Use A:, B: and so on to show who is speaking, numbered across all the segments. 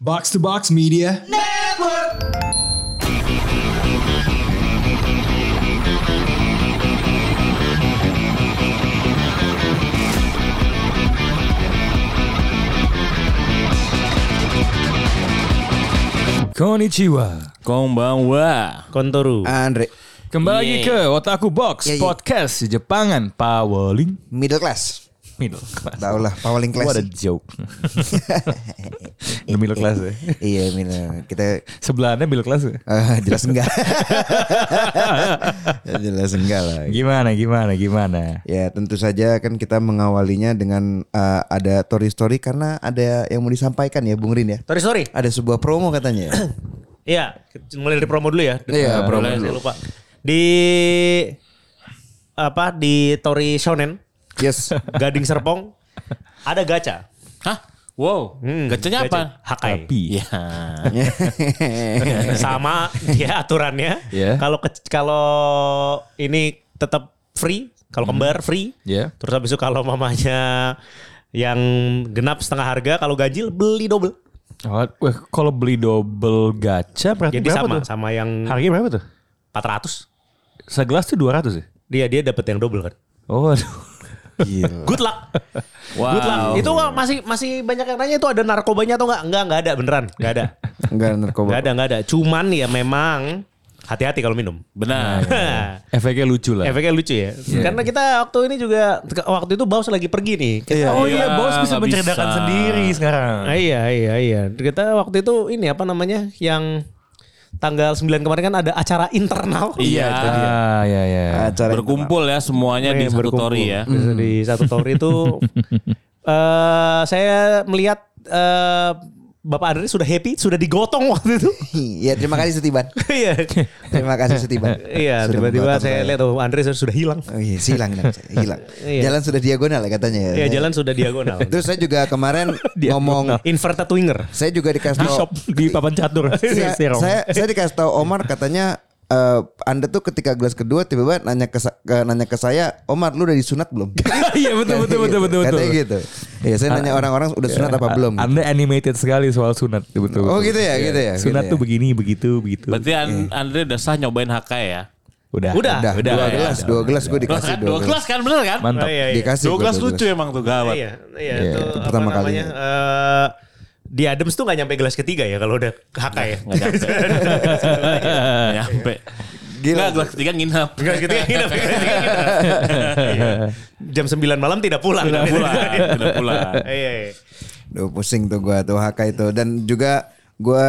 A: Box to Box Media. Konnichiwa.
B: Konbanwa
C: Kontoru.
D: Andre
A: Kembali lagi ke Otaku Box
D: Iya, iya.
A: Podcast Jepangan Pawaling
D: middle class
A: Middle Class.
D: tau lah paling class
A: What a joke. The middle class ya.
D: iya middle kita
A: Sebelahnya middle class ya.
D: eh, jelas enggak jelas enggak lah
A: Gimana gimana gimana.
D: ya tentu saja kan kita mengawalinya dengan eh, ada story story karena ada yang mau disampaikan ya Bung Rin ya
C: Sorry sorry.
D: ada sebuah promo katanya ya?
C: Iya, mulai dari promo dulu ya.
D: Iya,
C: Mulai,
D: promo
C: saya
D: dulu.
C: Lupa. Di apa di Tori Shonen
D: yes
C: Gading Serpong ada gacha.
B: Hah? Wow
C: Hmm,
B: Gacanya apa?
C: gacha. Hakai.
A: Tapi
B: Iya
C: Sama dia aturannya.
A: Iya.
C: Kalau ke- kalau ini tetap free, kalau kembar free.
A: Iya.
C: Terus habis itu kalau mamanya yang genap setengah harga, kalau ganjil beli double.
A: Oh, weh, kalau beli double gacha berarti
C: Jadi
A: berapa
C: sama
A: tuh?
C: sama yang
A: Harganya berapa tuh?
C: 400.
A: Segelas tuh 200 ya?
C: Dia dia dapat yang double kan.
A: Oh, aduh.
C: Good luck.
B: Wow
C: Good luck. Itu nggak- masih masih banyak yang nanya itu ada narkobanya atau nggak? Enggak, enggak ada beneran. Enggak ada.
D: enggak
C: Enggak
D: narkoba
C: ada, enggak ada. Cuman ya memang hati-hati kalau minum.
B: Benar Iya.
A: Efeknya lucu lah.
C: Efeknya lucu ya. Karena kita waktu ini juga waktu itu Baus lagi pergi nih. Kita,
A: oh iya,
B: Iya,
A: bos bisa
B: nggak
A: menceritakan
B: bisa.
A: sendiri sekarang.
C: Ah, Iya, iya, iya. Kita waktu itu ini apa namanya? Yang tanggal 9 kemarin kan ada acara internal.
B: Iya
A: Ah, iya, iya.
D: acara
B: Berkumpul ya semuanya di
C: Yang Oh iya,
B: satu
C: berkumpul. Hmm.
B: tori ya
C: Di- Di satu tori itu eh saya melihat eh Bapak Andre sudah happy, sudah digotong waktu itu.
D: ya terima kasih Setiban
C: Iya.
D: terima kasih Setiban
C: Iya,
D: Sudah
C: tiba-tiba
D: membuat
C: saya
D: apa-
C: lihat oh Andre sudah hilang.
D: Oh iya, sih hilang, hilang, hilang.
C: Iya.
D: Jalan sudah diagonal ya katanya ya.
C: Iya, jalan sudah diagonal. Nah,
D: Terus saya juga kemarin ngomong, Oh.
C: Inverted winger.
D: saya juga dikasih
A: Di
D: tau-
A: shop di papan catur.
D: Iya,
A: Serong.
D: saya, saya dikasih tahu Omar katanya eh, Anda tuh ketika gelas kedua tiba-tiba nanya ke, sa- ke- nanya ke saya, Omar lu udah disunat belum?
A: Iya, betul betul betul betul Ah, betul.
D: Katanya gitu. Iya, saya nanya orang-orang udah sunat apa belum?
A: Anda animated sekali soal sunat, betul.
D: Oh, gitu ya, gitu ya,
A: Sunat tuh
D: gitu ya.
A: begini, begitu, begitu.
B: Berarti An- Andre udah sah nyobain Hakai ya
A: Udah.
C: Udah.
D: Udah,
B: Udah,
D: dua
B: ya,
D: gelas,
B: udah.
D: dua gelas gue
B: Dua
D: dikasih
B: kan-
D: dua
B: dua
D: gelas.
B: kelas kan bener kan?
A: Mantap.
C: iya, iya.
D: Dikasih
B: Dua
D: gua
B: kelas
D: dua
B: lucu emang tuh gawat
C: Iya,
D: Iya,
C: iya. Itu
D: itu
C: apa
D: pertama kali.
C: namanya? eh, di Adams tuh gak nyampe gelas ketiga ya kalau udah haka ya.
B: Nggak nyampe
A: Iya.
B: Nggak Nyampe
D: Gila.
B: Nggak, gelas ketiga nginep
C: Gelas ketiga nginep, gelas ketiga nginep. gitu. Iya. Jam 9 malam tidak pulang.
B: Tidak pulang Tidak pulang
C: Iya, iya.
D: Duh pusing tuh gue tuh haka itu dan juga gue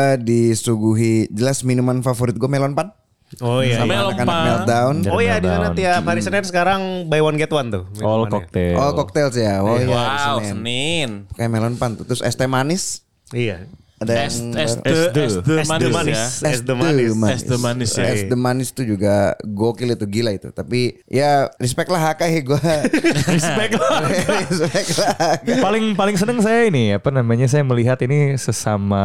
D: disuguhi jelas minuman favorit gue melon pan
C: Oh iya.
B: Sampai
C: iya.
B: Melon
D: anak-anak
B: pan.
D: meltdown.
C: Oh iya di sana tiap hari Senin sekarang buy one get one tuh.
A: All
C: minumannya.
A: cocktail.
D: Oh cocktails ya, oh iya hari
B: Wow
D: Senin.
B: Senin
D: kayak melon pan tuh. terus es teh manis
C: Iya.
D: ada
B: Es
D: yang
B: es
D: baru.
A: de-
B: de- es de
C: Es de
B: manis
C: manis.
B: ya
C: es de manis. iya.
B: Es de manis ya.
D: es de manis tuh juga gokil itu gila itu tapi ya respect lah Hakai gue
A: Respect lah.
D: respect lah Hakai.
A: paling paling seneng saya ini apa namanya saya melihat ini sesama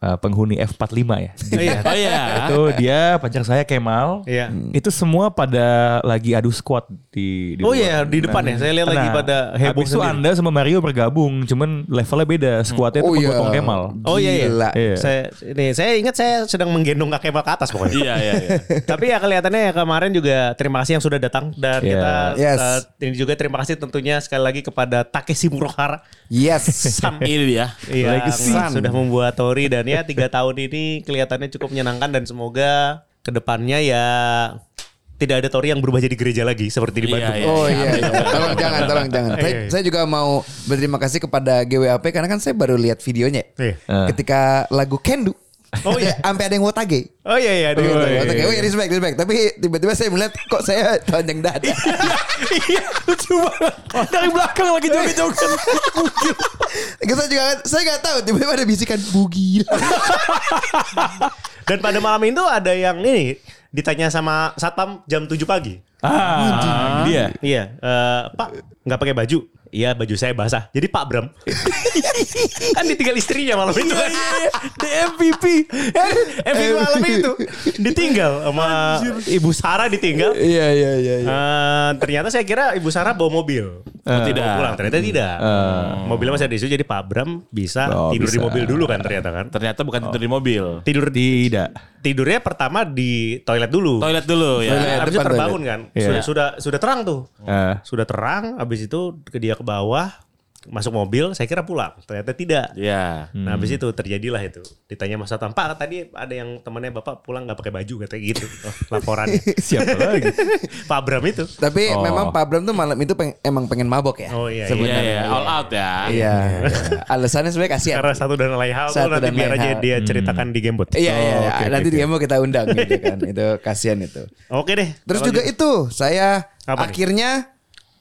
A: eh, penghuni F45 ya.
C: Iya.
B: Oh iya
A: itu dia pacar saya Kemal.
C: Iya.
A: Itu semua pada lagi adu squad di, di luar.
C: Oh
A: Nah,
C: iya, di depan ya. Saya lihat lagi pada heboh
A: Habis itu
C: sendiri.
A: Anda sama Mario bergabung, cuman levelnya beda. Squadnya itu
D: Oh iya.
A: penggotong Kemal.
C: Oh iya, iya.
D: Gila.
A: Iya.
C: Saya ini saya ingat saya sedang menggendong kakek Kemal ke atas pokoknya.
B: Iya iya iya
C: Tapi ya kelihatannya ya kemarin juga terima kasih yang sudah datang dan
A: Iya.
C: kita
D: Yes.
C: eh, ini juga terima kasih tentunya sekali lagi kepada Takeshi Murohara
D: yes
C: Sam
B: Ini dia
C: yang
D: Legacy.
C: Iya, sudah membuat Tori dan ya tiga tahun ini kelihatannya cukup menyenangkan dan semoga kedepannya ya tidak ada Tori yang berubah jadi gereja lagi seperti di
B: Iya,
C: Bandung.
B: iya.
D: Oh iya, iya. tolong jangan, tolong jangan. Saya,
C: Iya, iya.
D: saya juga mau berterima kasih kepada GWAP karena kan saya baru lihat videonya.
C: Iya.
A: Eh.
D: Ketika lagu Kendu,
C: Oh iya.
D: sampai ada yang wotage.
C: Oh iya iya. aduh,
D: Gitu,
C: iya,
D: wotage.
C: iya.
D: Wih, respect, respect. Tapi tiba-tiba saya melihat kok saya tonjeng dada.
A: Iya, lucu banget. Dari belakang lagi joget-joget.
D: Gitu saya juga, saya nggak tahu. Tiba-tiba ada bisikan bugil.
C: Dan pada malam itu ada yang ini ditanya sama satpam jam 7 pagi.
A: ah, dia.
C: Iya, eh, Pak nggak pakai baju? Iya baju saya basah. Jadi Pak Bram. kan ditinggal istrinya malam itu.
D: Iya,
C: kan.
A: The MVP.
C: Eh malam itu ditinggal sama Ibu Sarah ditinggal.
D: Iya iya iya. iya.
C: Eh, ternyata saya kira Ibu Sarah bawa mobil. Bawa
D: Eh.
B: tidak.
C: pulang. Ternyata
D: Hmm.
C: tidak. Mobilnya masih ada di situ jadi Pak Bram bisa
A: Oh,
C: tidur di
A: bisa.
C: mobil dulu kan ternyata kan.
B: Ternyata bukan tidur di mobil.
C: Tidur di
A: Tidak.
C: tidurnya pertama di toilet dulu.
B: Toilet dulu ya.
D: Toilet.
C: Habis itu
D: depan
C: terbangun kan.
A: Iya.
C: Sudah sudah sudah terang tuh.
A: Eh.
C: Sudah terang habis itu ke dia ke bawah masuk mobil saya kira pulang. Ternyata tidak.
B: Ya.
C: Nah habis
D: Hmm.
C: itu terjadilah itu. Ditanya masa tampak tadi ada yang temannya Bapak pulang nggak pakai baju katanya gitu. Oh, laporannya.
A: Siapa lagi?
C: Pak Bram itu.
D: Tapi
A: Oh.
D: memang Pak Bram tuh malam itu peng- emang pengen mabok ya.
C: Oh, iya, iya.
B: Iya
D: Sebenarnya.
B: ya, all out ya.
D: Iya. iya. Alasannya sebenarnya kasihan.
C: Karena satu dan lain hal tuh
D: Satu
C: nanti
D: dan
C: biar
D: lain
C: aja
D: hal.
C: dia ceritakan di Gamebot.
D: Iya iya.
C: Oh,
D: iya.
C: oke, oke,
D: Nanti
C: oke.
D: dia mau kita undang gitu kan. itu kasihan itu.
C: Oke deh.
D: Terus
C: Kalau
D: juga
C: gitu.
D: itu saya
C: Apa nih?
D: akhirnya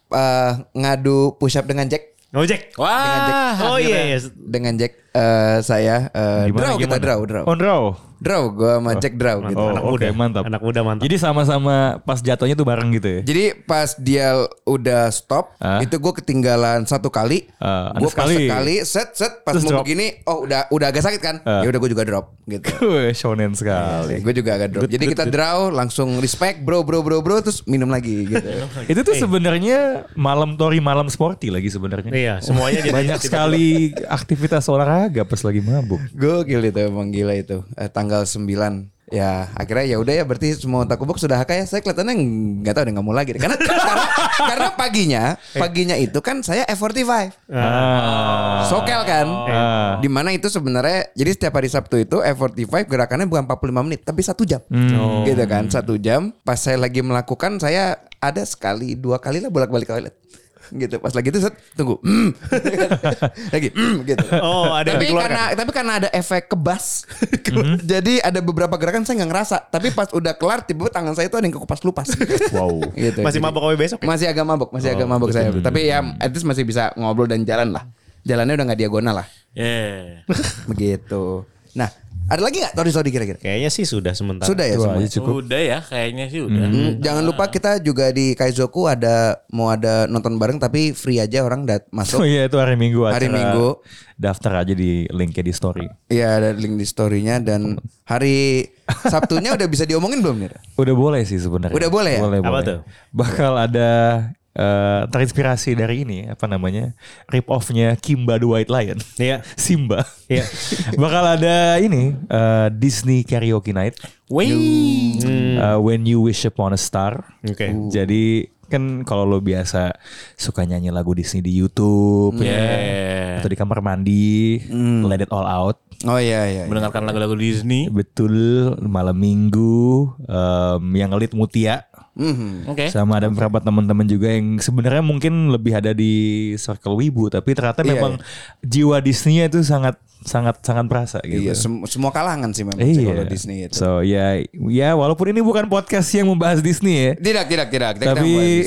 D: eh, ngadu push up dengan Jack.
C: Ngojek.
B: Wah.
C: Oh iya iya.
D: Dengan Jack eh, saya eh,
A: Gimana,
D: draw kita
A: gimana?
D: draw draw.
A: On draw.
D: Draw gue sama Jack draw gitu.
A: Oh,
C: Anak
A: oke,
C: muda.
A: mantap.
C: Anak muda mantap.
A: Jadi sama-sama pas jatuhnya tuh bareng gitu ya.
D: Jadi pas dia udah stop,
A: Ah.
D: itu gue ketinggalan satu kali,
A: Ah,
D: gue
A: ada sekali.
D: sekali, set set pas
A: Terus
D: mau
A: drop.
D: begini, oh udah udah agak sakit kan,
A: Ah.
D: ya udah gue juga drop gitu.
A: Wih, shonen
C: Iya,
A: sekali.
D: Gue juga agak drop. Jadi kita draw langsung respect bro bro bro bro terus minum lagi gitu.
C: iya.
A: Itu tuh sebenarnya malam tori malam sporty lagi sebenarnya.
C: Iya, semuanya jadi
A: Banyak
C: tiba-tiba.
A: sekali aktivitas olahraga pas lagi mabuk.
D: Gokil itu emang gila itu. Eh, tanggal 9 ya akhirnya ya udah ya berarti semua takubok sudah kayak saya kelihatannya nggak tahu deh nggak mau lagi deh. karena karena, karena paginya
A: Eh.
D: paginya itu kan saya F45
A: Ah.
D: Sokel kan.
A: Ah.
D: Di mana itu sebenarnya jadi setiap hari Sabtu itu F45 gerakannya bukan 45 menit tapi satu jam.
A: Hmm. Oh.
D: Gitu kan, satu jam. Pas saya lagi melakukan saya ada sekali dua kali lah bolak-balik toilet. Gitu. Pas lagi itu set tunggu. Mm. lagi mm, gitu.
C: Oh, ada yang
D: tapi
C: dikeluarkan. Mhm.
D: karena tapi karena ada efek kebas. Jadi ada beberapa gerakan saya nggak ngerasa, tapi pas udah kelar tiba-tiba tangan saya itu ada yang kekupas lupas.
A: Wow.
D: gitu.
C: Masih
D: Jadi-
C: mabok sampai besok. ya?
D: masih agak mabuk, masih agak mabuk saya. Tapi ya at least masih bisa ngobrol dan jalan lah. Jalannya udah nggak diagonal lah.
B: Yeah.
D: Begitu. Nah, ada lagi nggak Tori Sodi kira-kira?
C: Kayaknya sih sudah sementara.
D: Sudah ya semua.
A: Wah, cukup.
B: Udah ya, kayaknya sih udah.
D: Hmm, Jangan lupa kita juga di Kaizoku ada mau ada nonton bareng tapi free aja orang dat
A: Oh
D: masuk.
A: iya itu hari Minggu acara.
D: Hari Minggu.
A: Daftar aja di linknya di story.
D: Iya ada link di story-nya dan hari Sabtunya udah bisa diomongin belum nih?
A: Udah boleh sih sebenarnya.
D: Udah boleh ya?
A: Boleh,
C: Apa
A: boleh.
C: tuh?
A: Bakal ada eh, terinspirasi dari ini apa namanya? Rip off-nya Kimba the White Lion.
C: Iya.
A: Simba.
C: Iya.
A: Bakal ada ini eh, Disney Karaoke Night.
B: Wih.
A: Eh, When You Wish Upon a Star.
C: Hmm. Oke.
D: Uh.
A: Jadi kan kalau lo biasa suka nyanyi lagu Disney di YouTube ya,
B: Yeah.
A: atau di kamar mandi,
D: Hmm.
A: Let It All Out.
D: Oh iya iya. iya.
B: Mendengarkan lagu-lagu Disney.
A: Betul, malam minggu em, yang lead Mutia.
D: Mhm.
B: Oke.
A: Sama ada beberapa teman-teman juga yang sebenarnya mungkin lebih ada di circle wibu tapi ternyata
D: Iya,
A: memang jiwa Disney-nya itu sangat sangat sangat berasa gitu.
D: Iya, sem- semua kalangan sih memang sih
A: Iya.
D: kalau Disney itu.
A: So ya ya walaupun ini bukan podcast yang membahas Disney ya,
D: Tidak, tidak, tidak. Kita- kita mau
A: tapi
D: Disney.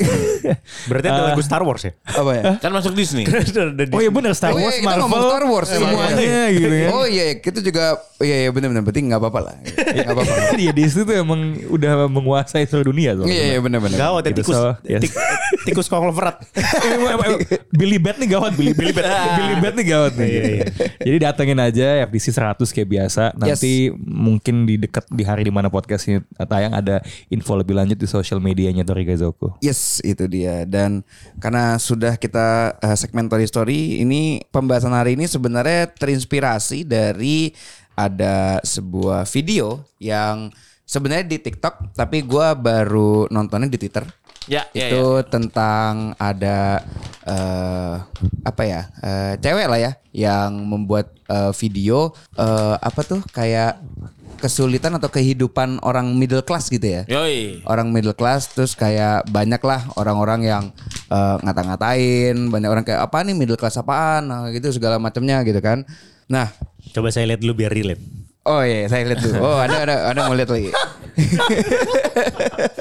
C: Berarti
D: Eh.
C: ada lagu Star Wars ya?
D: apa ya?
B: Kan masuk Disney.
C: Ada di-
A: Oh iya bener Star
D: Oh iya,
A: Wars,
D: kita
A: Marvel,
D: ngomong Star Wars iya,
A: semuanya
D: iya.
A: gitu kan.
D: Oh iya, iya, kita juga iya iya benar-benar penting nggak apa-apa lah. Nggak apa-apa.
A: Iya Disney tuh emang udah menguasai seluruh dunia soalnya.
D: Iya iya benar-benar.
C: Gawat ya
A: Gitu,
C: tikus.
A: so, yes.
C: Tik- tikus konglomerat.
A: Emang- emang- Billy Bat nih gawat Billy, Billy Bat Billy Bat nih gawat nih
C: Iya, iya.
A: Jadi datengin aja FDC 100 kayak biasa Nanti mungkin di dekat di hari dimana podcast ini tayang Ada info lebih lanjut di sosial medianya Tori Gazoko
D: Yes, itu dia. Dan karena sudah kita eh, segmen Toy Story, ini pembahasan hari ini sebenarnya terinspirasi dari ada sebuah video yang sebenarnya di TikTok, tapi gua baru nontonnya di Twitter.
B: Ya, ya,
D: itu tentang ada eh, apa ya eh, cewek lah ya yang membuat eh, video eh, apa tuh kayak kesulitan atau kehidupan orang middle class gitu ya
B: Yoi.
D: orang middle class terus kayak banyak lah orang-orang yang eh, ngata-ngatain banyak orang kayak apa nih middle class apaan nah, gitu segala macamnya gitu kan nah
C: Coba saya lihat dulu biar relate.
D: oh iya saya lihat dulu oh ada ada ada mau lihat lagi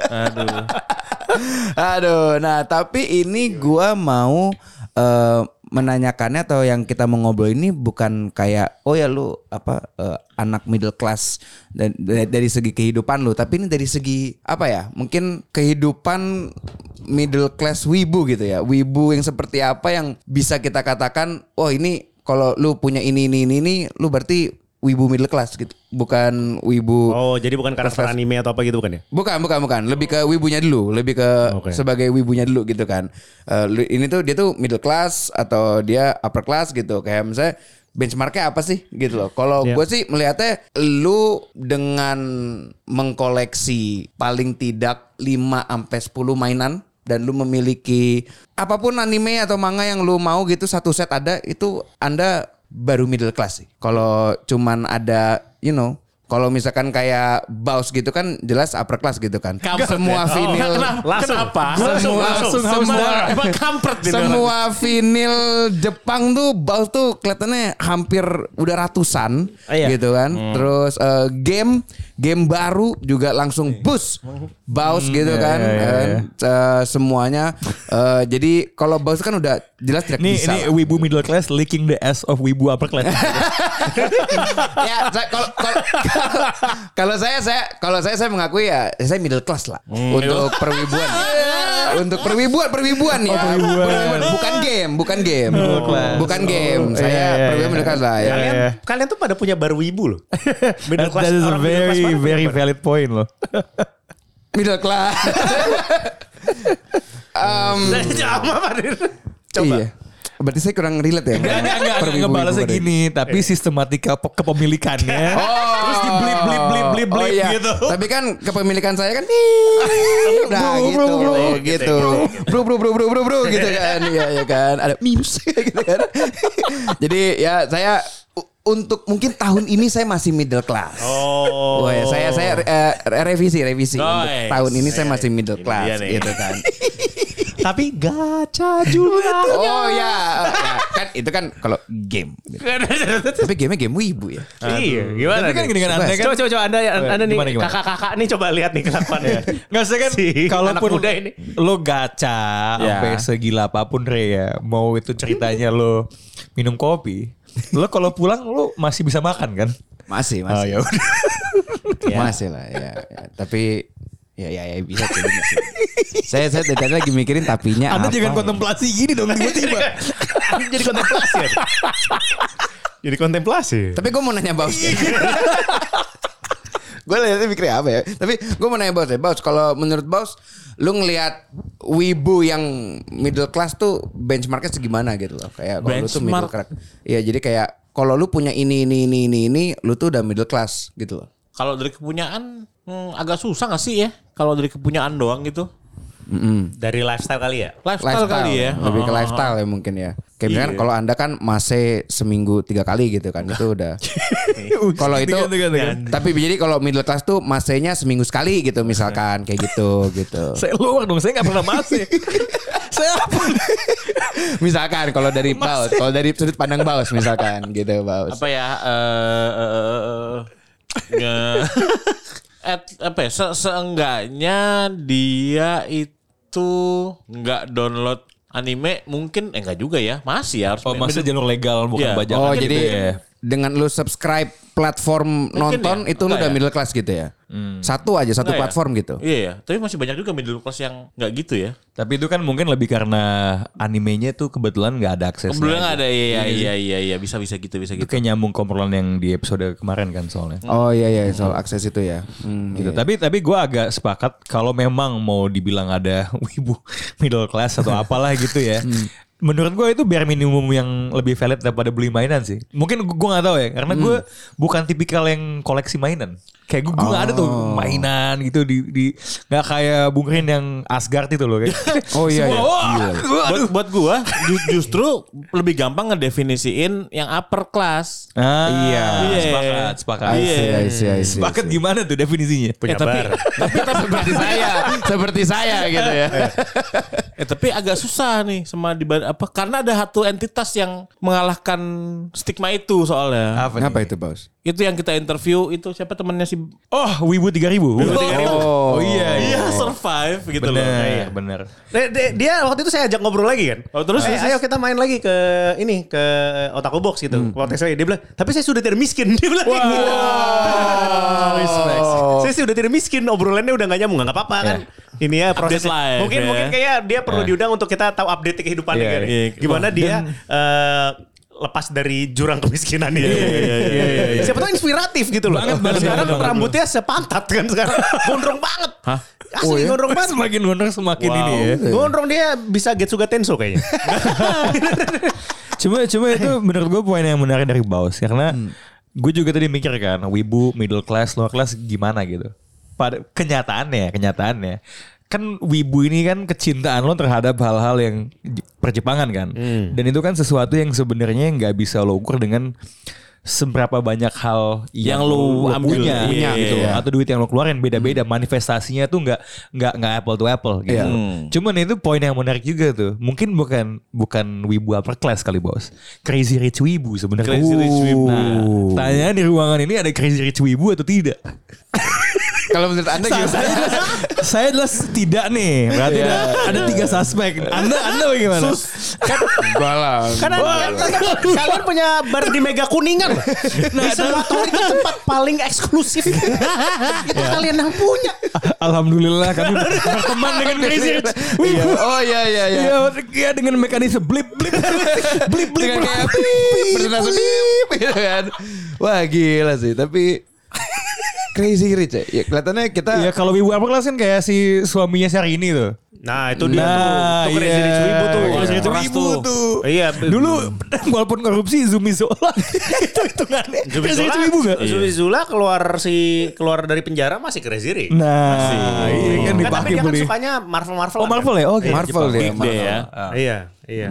B: Aduh.
D: Aduh, nah tapi ini gua mau eh, menanyakannya atau yang kita mau ngobrol ini bukan kayak oh ya lu apa eh, anak middle class dan da- dari segi kehidupan lu tapi ini dari segi apa ya mungkin kehidupan middle class wibu gitu ya wibu yang seperti apa yang bisa kita katakan oh ini kalau lu punya ini ini ini ini lu berarti wibu middle class gitu bukan wibu
C: Oh, jadi bukan karakter anime atau apa gitu bukan ya?
D: Bukan, bukan, bukan. Lebih ke wibunya dulu, lebih ke
C: Oke.
D: sebagai wibunya dulu gitu kan. Eh, lu- ini tuh dia tuh middle class atau dia upper class gitu. Kayak misalnya benchmarknya apa sih gitu loh. Kalau
C: Iya.
D: gue sih melihatnya lu dengan mengkoleksi paling tidak 5 sampai 10 mainan dan lu memiliki apapun anime atau manga yang lu mau gitu satu set ada itu Anda baru middle class sih. Kalau cuman ada you know kalau misalkan kayak Baus gitu kan jelas upper class gitu kan. semua vinyl
C: Langsung.
B: Kenapa?
D: Langsung, langsung,
B: Semua
D: semua-
B: Emang kampret di dalam.
D: semua vinil Jepang tuh Baus tuh kelihatannya hampir udah ratusan
C: Iya.
D: gitu kan.
B: Hmm.
D: Terus eh, game game baru juga langsung
B: Iya.
D: bus
B: Hmm.
D: Baus gitu kan.
A: iya, iya,
D: Dan, eh, semuanya eh, jadi kalau Baus kan udah jelas tidak
A: Ini
D: bisa.
A: ini
D: lah.
A: wibu middle class licking the ass of wibu upper class.
D: ya saya- kalau kalau- kalau- kalau saya saya kalau saya saya mengakui ya saya middle class lah
A: Hmm.
D: untuk perwibuan untuk perwibuan perwibuan
A: Oh,
D: ya
A: perwibuan.
D: bukan game bukan game bukan game saya
A: Iya, iya,
D: perwibuan
A: iya.
D: middle class lah ya
C: Kalian,
A: Iya.
C: kalian tuh pada punya baru ibu loh.
A: that, that is a
C: orang middle class
A: very
C: mana punya
A: very
C: bar?
A: valid point loh.
D: middle class um,
C: Sama, Pak Dir.
D: coba berarti saya kurang relate ya
A: Enggak, enggak, enggak
D: Perwibu-wibu
A: ngebalasnya
D: tadi.
A: gini, tapi sistematika pe- kepemilikannya
D: Oh.
A: terus di blip blip blip blip
D: Oh,
A: blip
D: iya.
A: gitu.
D: Tapi kan kepemilikan saya kan udah
A: Bro,
D: gitu,
A: bro, bro.
D: gitu. Bro bro bro bro bro bro gitu kan. Iya ya kan. Ada memes gitu kan. Jadi ya saya u- untuk mungkin tahun ini saya masih middle class.
B: Oh.
C: ya,
D: Wah, saya saya eh, revisi revisi untuk
B: Nice.
D: tahun ini saya masih middle
B: Ini
D: class
B: dia nih.
D: gitu kan.
C: Tapi gacha juga.
D: Oh ya, ya. kan itu kan kalau game. Tapi gamenya game wibu ya.
C: Iya, gimana?
A: Tapi kan
C: nih?
A: gini kan Anda kan
C: Coba coba coba Anda ya, Anda nih
A: Gimana, gimana?
C: kakak-kakak nih coba lihat nih kelakuannya.
A: Nggak saya kan
C: Si
A: kalaupun
C: anak muda ini.
A: lo gacha
B: Ya.
A: sampai segila apapun Re ya. Mau itu ceritanya lo minum kopi, lo kalau pulang lo masih bisa makan kan?
D: Masih,
A: Oh
D: masih.
A: ya udah.
D: Masih lah ya, ya. Tapi ya ya, ya bisa sih, bisa sih. saya saya dari tadi lagi mikirin tapinya
A: Anda
D: apa.
A: jangan
D: ya.
A: kontemplasi gini dong tiba-tiba.
C: Jadi kontemplasi. ya? Jadi kontemplasi. ya?
D: Tapi gue mau nanya Baus.
A: Iya.
D: gue lihatnya mikirnya apa ya? Tapi gue mau nanya Baus ya. Baus, kalau menurut Baus, lu ngelihat wibu yang middle class tuh benchmarknya segimana gitu loh. Kayak kalau lu tuh middle class.
B: Benchmark.
D: Iya, jadi kayak kalau lu punya ini ini ini ini ini, lu tuh udah middle class gitu loh.
B: Kalau dari kepunyaan hmm, agak susah gak sih ya? Kalau dari kepunyaan doang gitu.
C: Dari lifestyle kali ya.
B: Lifestyle, kali ya.
D: lebih ke
B: Oh,
D: lifestyle ya mungkin ya kayak misalkan kalau anda kan mase seminggu tiga kali gitu kan itu udah kalau itu
A: Tiga, tiga, tiga.
D: tapi jadi kalau middle class tuh masenya seminggu sekali gitu misalkan kayak gitu gitu
A: Saya luar dong, saya gak pernah masih. saya apa?
D: misalkan kalau dari baus kalau dari sudut pandang baus misalkan gitu baus
B: Apa ya? eh, eh, eh, eh, nge- at- apa ya? se- seenggaknya dia itu nggak download anime mungkin eh enggak juga ya masih ya harus
A: Oh, masa jalur legal bukan
B: Iya.
A: bajakan.
D: oh
A: gitu
D: jadi
A: ya.
D: dengan lu subscribe platform nonton
B: ya?
D: itu lu
B: Enggak
D: udah
B: ya?
D: middle class gitu ya satu aja satu
B: Enggak ya?
D: platform gitu
B: Iya, iya. tapi masih banyak juga middle class yang nggak gitu ya.
A: Tapi itu kan mungkin lebih karena animenya tuh kebetulan nggak ada aksesnya.
B: Belum ada iya iya iya iya bisa bisa gitu bisa
A: Itu
B: gitu.
A: kayak nyambung ke obrolan yang di episode kemarin kan soalnya.
D: oh iya iya soal akses itu ya Hmm,
A: Gitu. Tapi tapi gue agak sepakat kalau memang mau dibilang ada wibu middle class atau apalah gitu ya.
D: Hmm.
A: Menurut gue itu biar minimum yang lebih valid daripada beli mainan sih. Mungkin gue gak tahu ya, karena gue
D: Hmm.
A: bukan tipikal yang koleksi mainan. Kayak gue gak ada tuh
D: Oh.
A: mainan gitu di di nggak kayak Bung Rin yang Asgard itu loh kayak.
D: Oh iya,
A: Semua,
D: iya.
A: "Wah,
D: Gila.
A: gua-
B: buat buat gua ju- justru lebih gampang ngedefinisiin yang upper class.
A: Ah, iya,
B: Iya.
A: sepakat, sepakat.
D: I see, I see, I see.
A: Sepakat gimana tuh definisinya?
C: Punya
B: Eh, tapi-
C: bar.
B: tapi tapi
D: seperti saya, seperti saya gitu ya.
B: eh, tapi agak susah nih sama di apa karena ada satu entitas yang mengalahkan stigma itu soalnya.
A: Apa, nih?
D: Kenapa itu, Bos?
B: Itu yang kita interview itu siapa temennya si masih
A: Oh, Wibu 3000.
B: Wibu 3000.
A: Oh, iya. iya.
B: iya survive gitu loh. Iya.
A: Bener, bener.
C: Dia- dia- dia waktu itu saya ajak ngobrol lagi kan.
B: Oh, terus-
C: Eh,
B: terus-
C: ayo kita main lagi ke ini ke Otaku Box gitu. Waktu saya dia bilang, "Tapi saya sudah tidak miskin." Dia bilang kayak gitu.
A: Respect.
C: Saya sih udah tidak miskin, obrolannya udah gak nyambung, gak apa-apa kan. Ini ya proses.
B: Update lah ya.
C: Mungkin mungkin kayak dia perlu diundang untuk kita tahu update kehidupannya
A: Iya,
C: kan.
B: iya.
C: Gimana dia eh, lepas dari jurang kemiskinan ini. Siapa tahu inspiratif gitu loh.
A: Banget, banget.
C: sekarang
A: Banget.
C: rambutnya sepantat kan sekarang. gondrong banget.
B: Hah?
A: Oh,
C: Asli
A: iya?
C: gondrong banget.
A: Semakin gondrong semakin ini ya.
C: Gondrong dia bisa Getsuga Tenso kayaknya.
A: Cuma cuma itu menurut gue poin yang menarik dari Baus karena
B: Hmm.
A: gue juga tadi mikir kan wibu middle class lower class gimana gitu. Pada kenyataannya, kenyataannya kan wibu ini kan kecintaan lo terhadap hal-hal yang j- perjepangan kan.
B: Hmm.
A: Dan itu kan sesuatu yang sebenarnya nggak bisa lo ukur dengan seberapa banyak hal yang,
B: Yang lo
A: lo
B: ambil,
A: punya,
B: punya,
A: gitu
B: iya. Hmm.
A: atau duit yang lo keluarin beda-beda manifestasinya tuh nggak nggak nggak apple to apple gitu.
D: Iya.
A: Cuman itu poin yang menarik juga tuh. Mungkin bukan bukan wibu upper class kali bos. Crazy rich wibu sebenarnya.
B: Crazy Rich Wibu.
A: Nah, tanya di ruangan ini ada crazy rich wibu atau tidak?
D: Kalau menurut Anda
A: Saya, saya jelas, saya jelas tidak nih. Berarti ada, Iya, ada tiga suspek. Anda Anda bagaimana?
D: Balang.
A: Kan
C: Karena kan kalian punya bar di Mega Kuningan. loh.
B: Nah,
C: di sebuah tour itu tempat paling eksklusif. itu kalian yang punya.
A: Alhamdulillah kami berteman dengan crazy rich
D: Iya.
A: wibu.
D: Oh iya iya iya.
A: Iya, iya, dengan mekanisme blip blip blip blip blip.
D: Dengan kayak pip, berdinasi pip gitu kan. Wah gila sih tapi crazy rich ya. ya kelihatannya kita
A: Iya kalau wibu upper class kan kayak si suaminya sehari ini tuh.
C: Nah itu dia tuh. Itu Crazy Rich Wibu tuh.
A: iya.
B: Crazy Rich
A: Keras
B: Wibu
A: tuh.
B: tuh.
C: Iya.
A: Dulu walaupun korupsi Zumi Zola itu hitungannya.
C: Zumi
A: Crazy
C: Zola,
A: Rich Wibu gak?
C: Zumi Zola keluar si keluar dari penjara masih Crazy Rich.
A: Nah, iya kan
C: Nggak, tapi
A: dipakai
C: dia kan
A: beli.
C: sukanya Marvel-Marvel. kan?
A: Oh Hmm, Marvel ya? Oke.
D: Marvel
A: Jepang.
D: dia.
B: Big
D: Marvel.
B: day ya.
C: Iya, iya.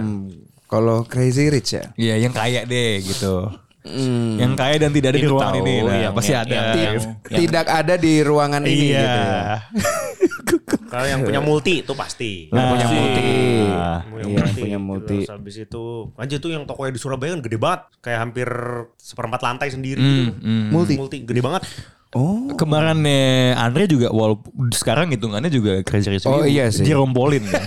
D: Kalau crazy rich ya.
A: Iya yang kaya deh gitu.
D: Hmm.
A: Yang kaya dan tidak ada di
B: Itu
A: ruangan
B: tahu,
A: ini. Nah,
B: yang-
A: pasti
B: yang-
A: ada.
B: yang-
A: gitu.
B: yang-
D: Tidak ada di ruangan ini
A: iya.
D: gitu. ya.
C: Kalau yang punya multi itu pasti.
D: Yang punya multi.
A: Nah.
C: Punya
D: Iya, yang punya multi.
C: Terus habis itu, anjir tuh yang tokonya di Surabaya kan gede banget. Kayak hampir seperempat lantai sendiri
D: Hmm,
C: gitu.
D: Multi.
C: Multi gede banget.
D: Oh.
A: Kemarin eh, Andre juga walaupun sekarang hitungannya juga crazy rich
D: Oh,
A: Wibu.
D: iya sih.
A: Jerome Pauline. kan?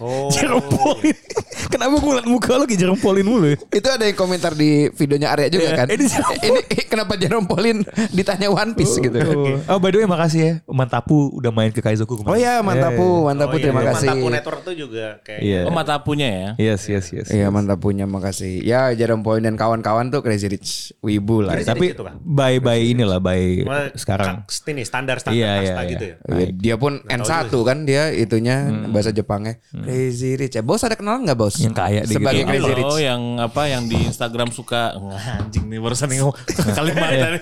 C: Oh.
A: Jerome Pauline. Kenapa gue ngeliat muka lo kayak Jerome Pauline mulu ya?
D: Itu ada yang komentar di videonya Arya juga
A: Iya,
D: kan.
A: ini Jerome
D: Ini kenapa Jerome Pauline ditanya One Piece gitu.
A: Oke. Oh by the way makasih ya Mantapu udah main ke Kaizoku kemarin.
D: Oh ya mantapu, mantapu
C: Oh, iya,
D: terima kasih.
C: Mantapu Network tuh juga kayak
A: Iya.
B: Oh mata punya ya.
A: Yes yes yes.
D: Iya mantapunya makasih. Ya Jerome Pauline dan kawan-kawan tuh Crazy Rich Wibu lah.
C: Crazy
D: Tapi
A: Tapi
C: Gitu, Bang.
A: by by inilah by
C: Cuma
A: sekarang.
C: kast- ini standar standar
A: Iya,
C: kasta
A: iya, iya.
C: gitu ya.
D: ya, dia pun N1 kan dia itunya bahasa Jepangnya Crazy Rich. Ya, bos ada kenalan nggak bos?
A: Yang kaya di
D: Sebagai
A: gitu.
D: Crazy
B: Ini
D: Rich.
B: loh Iya, yang apa yang di Instagram suka Wah, anjing nih barusan nih ngomong kalimat tadi.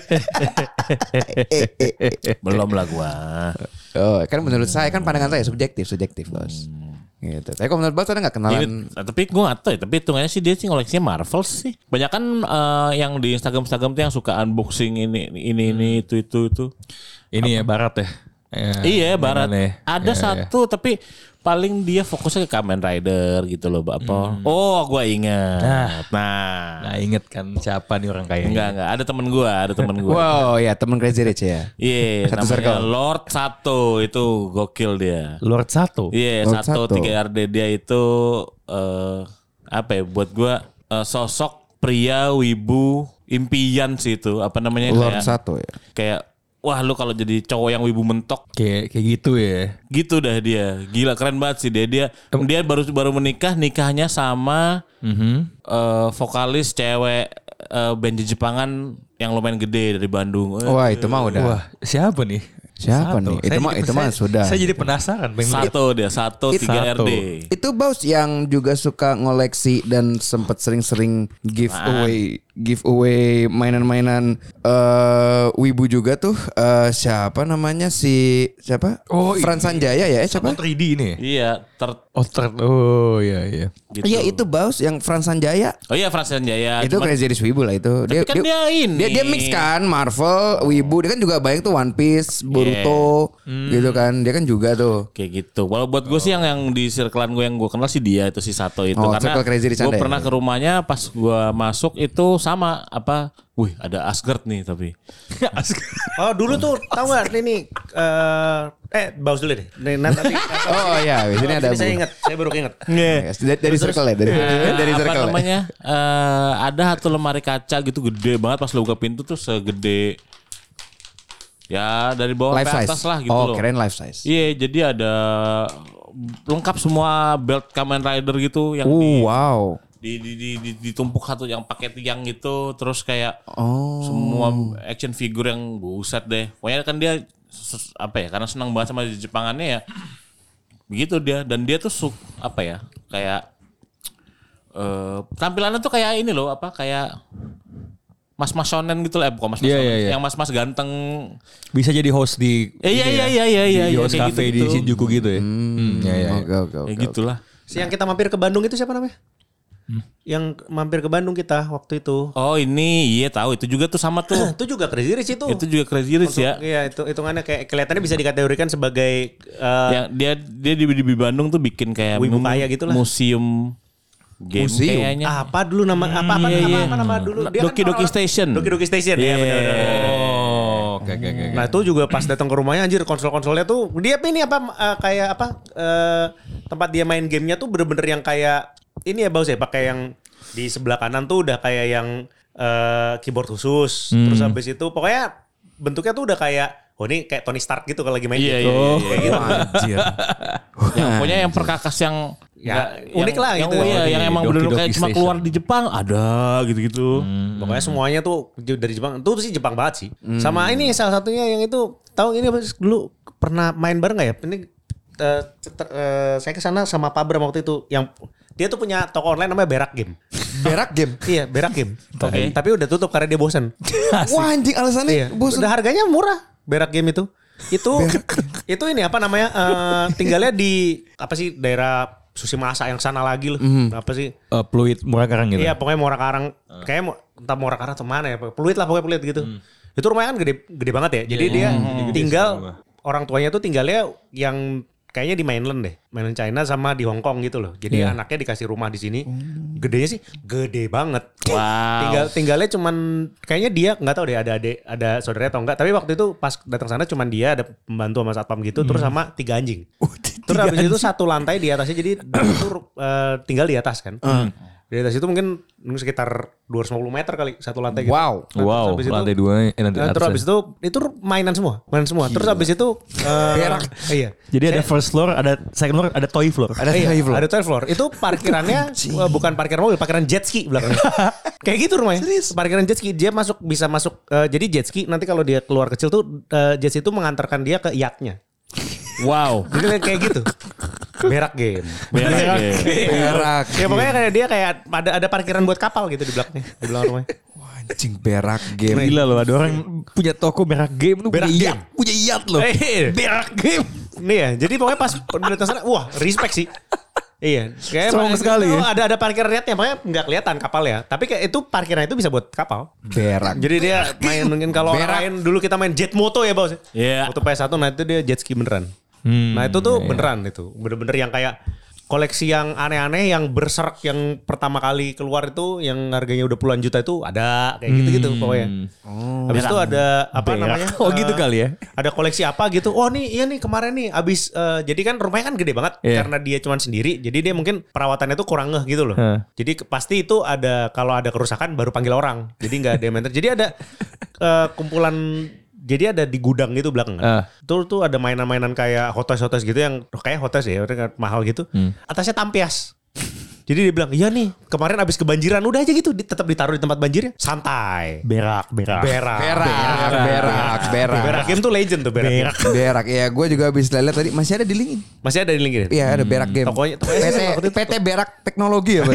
B: Belum lah gua.
D: Oh, kan menurut saya kan pandangan saya subjektif, subjektif bos. Gitu. Tapi kalau menurut bos ada nggak kenalan?
B: Ini- tapi gue gak tau ya, tapi hitungannya sih dia sih koleksinya Marvel sih. Banyak kan eh, yang di Instagram-Instagram tuh yang suka unboxing ini, ini, ini, itu, itu, itu.
A: Ini ya barat ya. Ya,
D: Nah,
B: Iya barat.
A: mainannya. Ya,
D: Iya,
B: Ada
A: ya.
B: satu tapi paling dia fokusnya ke Kamen Rider gitu loh
D: Hmm.
B: Bapak. Oh, gua ingat. Nah,
A: Nah inget kan siapa nih
D: Nah,
A: orang kaya?
D: iya.
B: enggak enggak ada temen gua, ada temen gua.
D: Wow, ya teman Crazy Rich ya.
B: Iya,
D: Satu
B: namanya
D: circle.
B: Lord Sato itu gokil dia.
A: Lord satu.
B: Iya,
D: Lord
B: Sato
D: Sato.
B: 3RD dia itu eh apa ya buat gua eh, sosok pria wibu impian sih itu, apa namanya
D: Lord
B: kayak
D: satu ya.
B: kayak wah lu kalau jadi cowok yang wibu mentok
A: Kayak kayak gitu ya.
B: gitu dah dia gila keren banget sih dia dia dia baru baru menikah nikahnya sama
A: Mhm.
B: eh, vokalis cewek eh, band di Jepangan yang lumayan gede dari Bandung Eh,
D: Wah itu mah udah.
A: Wah Nah. siapa nih?
D: Siapa nih? Itu
A: Saya
D: mah-
A: jadi-
D: itu mah
A: saya-
D: sudah.
A: Saya jadi penasaran.
D: iya.
A: pengen lihat.
B: satu dia satu
A: It-
B: tiga
A: Sato.
B: RD
D: Itu Baus yang juga suka ngoleksi dan sempat sering-sering giveaway giveaway mainan-mainan eh Wibu juga tuh eh, siapa namanya si siapa?
A: Oh,
D: Fran Sanjaya ya eh,
A: Oh
D: siapa?
A: 3D ini. ya?
B: iya ter
A: Oh ter- Oh iya iya.
B: gitu.
D: Iya itu Baus yang Fran Sanjaya.
B: oh iya Frans Jaya
D: itu Crazy Rich Wibu lah itu. Dia,
B: kan dia ini.
D: Dia, dia mix kan Marvel, Wibu. Dia kan juga banyak tuh One
B: Iya.
D: Piece, Boruto
B: Hmm.
D: gitu kan. Dia kan juga tuh.
B: Kayak gitu. Walau buat gue sih yang yang di circlean gue yang gue kenal sih dia itu si Sato itu
D: Oh,
B: karena
D: circle Crazy di sana
B: gue
D: ya?
B: pernah ke rumahnya pas gue masuk itu sama apa? Wih, ada Asgard nih tapi.
C: Oh dulu tuh tahu nggak nih nih eh, eh baus dulu deh.
B: Nah,
C: Nih, nanti nanti-
D: Oh iya, di sini ada
C: saya
D: Bu.
C: ingat, saya baru ingat.
D: Yes, dari, dari circle ya, dari,
B: Eh,
D: dari
B: apa
D: circle. ya.
B: namanya? Eh, ada satu lemari kaca gitu gede banget pas lo buka pintu tuh segede ya dari bawah
D: Life
B: ke
D: size.
B: atas lah gitu
D: oh,
B: loh.
D: keren life size.
B: Iya, jadi ada lengkap semua belt Kamen Rider gitu yang di,
D: Oh, wow.
B: di, di, di, di- ditumpuk satu yang pakai tiang gitu, terus kayak
D: Oh.
B: semua action figure yang buset deh. Pokoknya kan dia ses- apa ya? Karena senang banget sama Jepangannya ya. Begitu dia dan dia tuh su- apa ya? Kayak eh tampilannya tuh kayak ini loh, apa kayak mas-mas shonen gitu lah, eh, bukan mas-mas
A: Iya,
B: shonen,
A: iya, iya.
B: yang mas-mas ganteng.
A: Bisa jadi host di
B: Eh, iya,
A: ini
B: iya,
A: ya,
B: iya, iya, iya,
A: di
B: iya,
A: host
B: kayak
A: cafe di
B: gitu-gitu.
A: Shinjuku gitu ya. Hmm, iya, iya.
D: Oke, oke,
B: Ya
D: oke.
B: gitulah.
C: Si yang kita mampir ke Bandung itu siapa namanya?
B: Hmm.
C: Yang mampir ke Bandung kita waktu itu. Ah,
B: Oh ini iya tahu itu juga tuh sama tuh.
C: Itu juga Crazy Rich itu.
B: itu juga Crazy Rich ya.
C: Iya, itu hitungannya kayak kelihatannya bisa dikategorikan sebagai eh,
B: Yang dia dia di, di Bandung tuh bikin kayak
C: Wibu
B: mem-
C: kaya gitu lah.
B: museum game
D: Museum?
B: kayaknya.
C: apa dulu nama apa apa,
B: iya,
C: apa,
B: iya.
C: apa nama dulu?
B: Doki Doki
C: kan orang-orang-
B: Station. Iya,
C: Doki Doki Station ya benar
A: Oh, oke, oke, oke.
C: Nah itu juga pas datang ke rumahnya anjir konsol-konsolnya tuh dia ini apa eh, kayak apa eh, tempat dia main gamenya tuh bener-bener yang kayak ini ya bau saya pakai yang di sebelah kanan tuh udah kayak yang eh, keyboard khusus terus
B: Hmm.
C: habis itu pokoknya bentuknya tuh udah kayak oh ini kayak Tony Stark gitu kalau lagi main
B: Iya,
C: gitu.
B: iya, iya,
C: Kayak gitu.
D: Anjir.
B: Yang Ya, pokoknya yang perkakas yang
C: Ya,
B: nggak-
C: unik lah
B: yang,
C: gitu.
B: Yang, iya,
A: Doki-
B: yang emang
A: Doki
B: bener
A: Doki
B: kayak cuma
A: Station.
B: keluar di Jepang ada gitu-gitu.
C: Pokoknya semuanya tuh dari Jepang. Itu sih Jepang banget sih. Sama ini salah satunya yang itu tahu ini apa sih, dulu pernah main bareng nggak ya? Ini eh, ter- eh, saya ke sana sama Pak Bram waktu itu yang dia tuh punya toko online namanya Berak Game.
D: Berak game.
C: iya, Berak Game.
B: Oke.
C: Tapi udah tutup karena dia bosan.
D: Wah, anjing alasannya
C: iya.
D: bosen.
C: Udah harganya murah Berak Game itu. Itu itu ini apa namanya? eh, tinggalnya di apa sih daerah Susi Masa yang sana lagi loh. Apa sih?
A: Eh, Pluit murah karang gitu.
C: Iya pokoknya Muara Karang kayaknya mu- entah Muara Karang atau mana ya peluit lah pokoknya peluit gitu. Itu rumahnya kan gede gede banget ya. Jadi dia tinggal orang tuanya tuh tinggalnya yang kayaknya di mainland deh, mainland China sama di Hong Kong gitu loh. Jadi anaknya dikasih rumah di sini. Gedenya sih gede banget.
B: Wow.
C: Tinggal tinggalnya cuman kayaknya dia nggak tahu deh ada adik ada saudara atau enggak. Tapi waktu itu pas datang sana cuman dia ada pembantu sama satpam gitu terus sama tiga anjing. terus habis itu satu lantai di atasnya jadi itu eh, tinggal di atas kan. Di atas itu mungkin sekitar 250 meter kali satu lantai gitu.
D: Wow.
C: Nah, terus
A: Wow,
C: habis itu-
A: lantai dua, eh, lantai
C: Nah, terus
A: atas.
C: habis itu itu mainan semua, mainan semua. Terus habis itu eh,
D: Berak.
C: Iya.
A: Jadi ada first floor, ada second floor, ada toy floor.
D: Ada
C: Iya,
D: hive
C: ada third floor. Itu parkirannya eh, bukan parkir mobil, parkiran jet ski belakangnya. Kayak gitu rumahnya. Parkiran jet ski dia masuk bisa masuk eh, jadi jet ski nanti kalau dia keluar kecil tuh eh, jet ski itu mengantarkan dia ke yachtnya.
B: Wow.
C: Jadi kayak gitu. Berak game.
B: Berak game.
D: Berak.
C: Ya pokoknya kayak dia kayak ada ada parkiran buat kapal gitu di belakangnya, di belakang rumahnya.
D: Wah, Iya, Anjing berak game.
A: Gila loh, ada orang punya toko merah game tuh
C: Berak
A: punya
C: game.
A: yacht, punya yacht loh.
C: Eh,
A: Berak game.
C: Nih ya, jadi pokoknya pas datang sana, wah respect sih. Iya, kayak
A: Strong sekali ya.
C: ada ada parkir niatnya, makanya nggak kelihatan kapal ya. Tapi kayak itu parkirnya itu bisa buat kapal.
D: Berak.
C: Jadi dia main mungkin kalau orang
D: Berak.
C: lain dulu kita main jet moto ya bos.
B: Iya.
C: Waktu PS1 nah itu dia jet ski beneran. nah itu
A: iya,
C: tuh beneran itu. Bener-bener yang kayak koleksi yang aneh-aneh yang berserak yang pertama kali keluar itu yang harganya udah puluhan juta itu ada kayak gitu-gitu pokoknya. Habis itu ada apa namanya?
A: Oh, gitu
C: eh,
A: kali ya.
C: Ada koleksi apa gitu. Oh nih iya nih kemarin nih abis eh, jadi kan rumahnya kan gede banget
A: Iya.
C: karena dia cuman sendiri. Jadi dia mungkin perawatannya tuh kurang ngeh gitu loh.
A: Heeh.
C: Jadi ke- pasti itu ada kalau ada kerusakan baru panggil orang. Jadi nggak ada yang mainter. Jadi ada eh, kumpulan jadi ada di gudang gitu belakang.
A: Ah.
C: Tuh tuh ada mainan-mainan kayak hotes-hotes gitu yang kayak hotes ya, orang mahal gitu. Atasnya tampias. Jadi dia bilang, "Iya nih, kemarin abis kebanjiran udah aja gitu, di- tetap ditaruh di tempat banjirnya. Santai."
A: Berak, berak.
C: Berak.
D: Berak, berak, berak.
C: Berak game tuh legend tuh berak. game.
D: Berak. Ya, gue juga habis lihat tadi masih ada di link ini.
C: Masih ada di link ini.
D: Iya, ada berak game.
C: Tokonya- tokonya
D: PT,
C: waktu itu-
D: PT Berak Teknologi ya, Pak?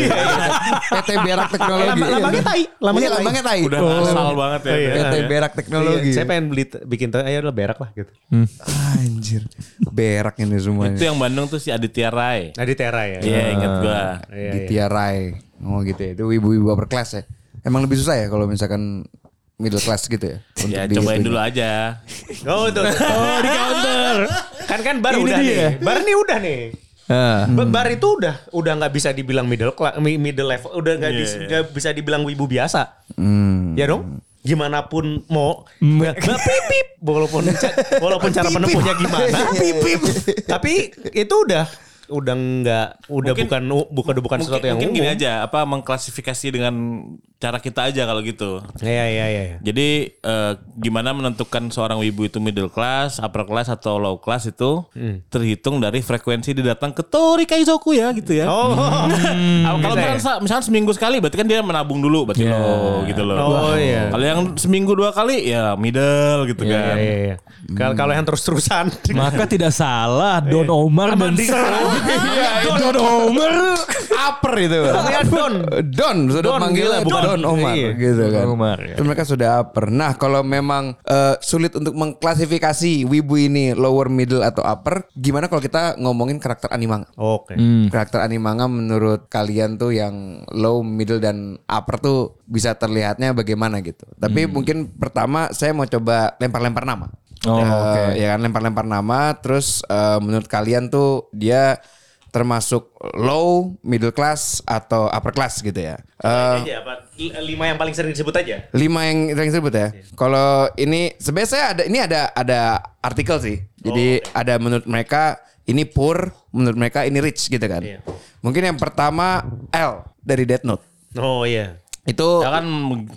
D: PT Berak Teknologi.
C: Lambang- lambangnya tai.
D: Lambangnya
C: Lambangnya
D: tai. Lambangnya
C: tai.
D: tai.
B: Udah
D: Oh.
B: asal banget ya.
C: Iya.
D: PT Berak Teknologi. Hmm.
C: Iya, saya pengen beli bikin tuh, ayo lah berak lah gitu.
D: Anjir. Berak ini semuanya.
B: Itu yang Bandung tuh si Aditya Rai.
C: Nah di Tera ya.
B: Iya ingat gua.
C: Iya,
D: di tiarai. Oh gitu ya. Itu ibu-ibu upper class ya. Emang lebih susah ya kalau misalkan middle class gitu ya.
B: Ya
D: di-
B: cobain
D: itu.
B: dulu aja.
C: Oh, tuh. oh di counter. Kan kan bar udah nih. Bar nih udah nih.
A: Ah.
D: Hmm.
C: Bar itu udah udah nggak bisa dibilang middle class, mi- middle level, udah nggak
B: Iya,
C: dis-
B: iya.
C: nggak bisa dibilang wibu biasa,
D: Hmm.
C: ya dong. Gimana pun mau, nggak nggak pipip, walaupun ca- walaupun cara menempuhnya gimana,
D: Pipip.
C: tapi itu udah udah nggak udah
B: Mungkin-
C: bukan bukan bukan
B: mungkin,
C: sesuatu yang
B: mungkin
C: umum.
B: gini aja apa mengklasifikasi dengan cara kita aja kalau gitu
C: Iya iya iya. iya.
B: jadi eh, gimana menentukan seorang wibu itu middle class upper class atau low class itu
C: Hmm.
B: terhitung dari frekuensi didatang ke Tori Kaizoku ya gitu ya
C: Oh, iya. ya?
B: Apa- kalau misalkan, sa- misalkan seminggu sekali berarti kan dia menabung dulu berarti
A: Yeah.
B: low gitu loh
C: Oh, iya.
B: kalau yang seminggu dua kali ya middle gitu
C: iya
B: kan
C: iya iya. Kalau kalau yang terus terusan,
A: Maka tidak salah Don Omar dan
D: Iya.
A: Don Omar
D: Upper itu.
C: Namanya Don.
D: Don, sudah
C: Don,
D: manggilnya
C: gila,
D: bukan
C: Don.
D: Don Omar
C: Iya.
D: gitu kan.
A: Don Omar, ya.
D: Terus mereka sudah upper. Nah, kalau memang eh, sulit untuk mengklasifikasi wibu ini lower, middle atau upper, gimana kalau kita ngomongin karakter animanga?
C: oke.
A: Hmm.
D: Karakter animanga menurut kalian tuh yang low, middle dan upper tuh bisa terlihatnya bagaimana gitu. Tapi
A: Hmm.
D: mungkin pertama saya mau coba lempar-lempar nama.
A: Oh,
D: Eh,
A: oke.
D: ya kan lempar-lempar nama terus eh, menurut kalian tuh dia termasuk low, middle class atau upper class gitu ya. Eh,
C: Aja, apa, iya, l- lima yang paling sering disebut aja.
D: lima yang yang disebut ya.
C: Iya.
D: Kalau ini sebenarnya saya ada ini ada ada artikel sih. Jadi
C: Oh,
D: ada menurut mereka ini poor, menurut mereka ini rich gitu kan.
C: Iya.
D: Mungkin yang pertama L dari Death Note.
C: Oh iya.
D: Itu
B: Ya kan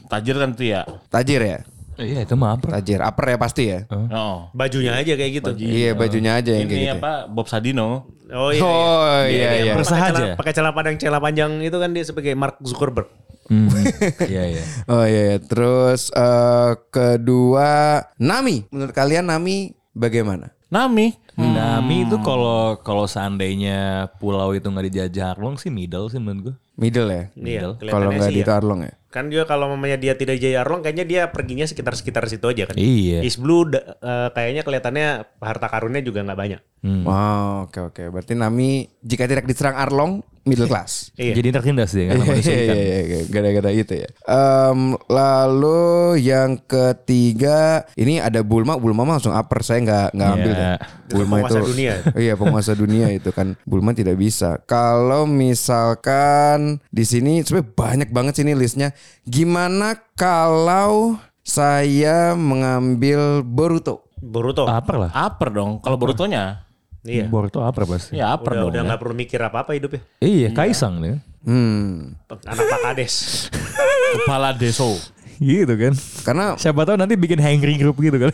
B: tajir kan tuh ya
D: tajir ya.
A: Iya itu mah apa?
D: Tajir, upper ya pasti ya.
C: Hmm.
B: oh
C: Bajunya aja kayak gitu.
D: Iya, bajunya aja yang
B: ini
D: kayak gitu.
B: apa Bob Sadino
C: Oh iya.
D: Oh, iya,
C: Dia- dia
D: iya.
C: pakai
A: Bersahaja.
C: celana- Pakai celana panjang celana panjang itu kan dia sebagai Mark Zuckerberg.
A: Iya iya.
D: Oh iya, iya. terus eh, kedua Nami. Menurut kalian Nami bagaimana?
B: Nami
A: Nami itu kalau kalau seandainya pulau itu nggak dijajah Harlong sih middle sih menurut gue.
D: Middle ya? Kalau
C: Iya. Kelihatannya
D: nggak
C: sih
D: di
C: ya.
D: Tarlong ya?
C: Kan juga kalau mamanya dia tidak jadi Arlong kayaknya dia perginya sekitar-sekitar situ aja kan.
A: Iya.
C: Is Blue da- eh, kayaknya kelihatannya harta karunnya juga nggak banyak.
A: Hmm.
D: Wow, oke oke. Berarti Nami jika tidak diserang Arlong middle class.
C: Iya.
A: Jadi tertindas dia karena manusia
D: Iya,
A: ikan.
D: iya, iya, gara-gara itu ya. Em, lalu yang ketiga ini ada Bulma, Bulma mah langsung upper saya nggak nggak ambil
A: Iya.
D: deh. Bulma itu,
C: Penguasa dunia.
D: iya penguasa dunia itu kan Bulma tidak bisa. Kalau misalkan di sini sebenarnya banyak banget sini listnya. Gimana kalau saya mengambil Boruto?
C: Boruto.
A: Upper Oh, lah.
B: upper dong kalau Borutonya
C: Iya.
A: Boruto upper pasti.
B: ya upper
C: Udah
B: dong
C: udah nggak perlu mikir apa-apa hidupnya.
A: Iya, Kaisang deh.
D: Hmm,
C: Anak Pak Kades.
B: kepala deso
A: Gitu kan.
D: karena
A: Siapa tahu nanti bikin hangry group gitu kan.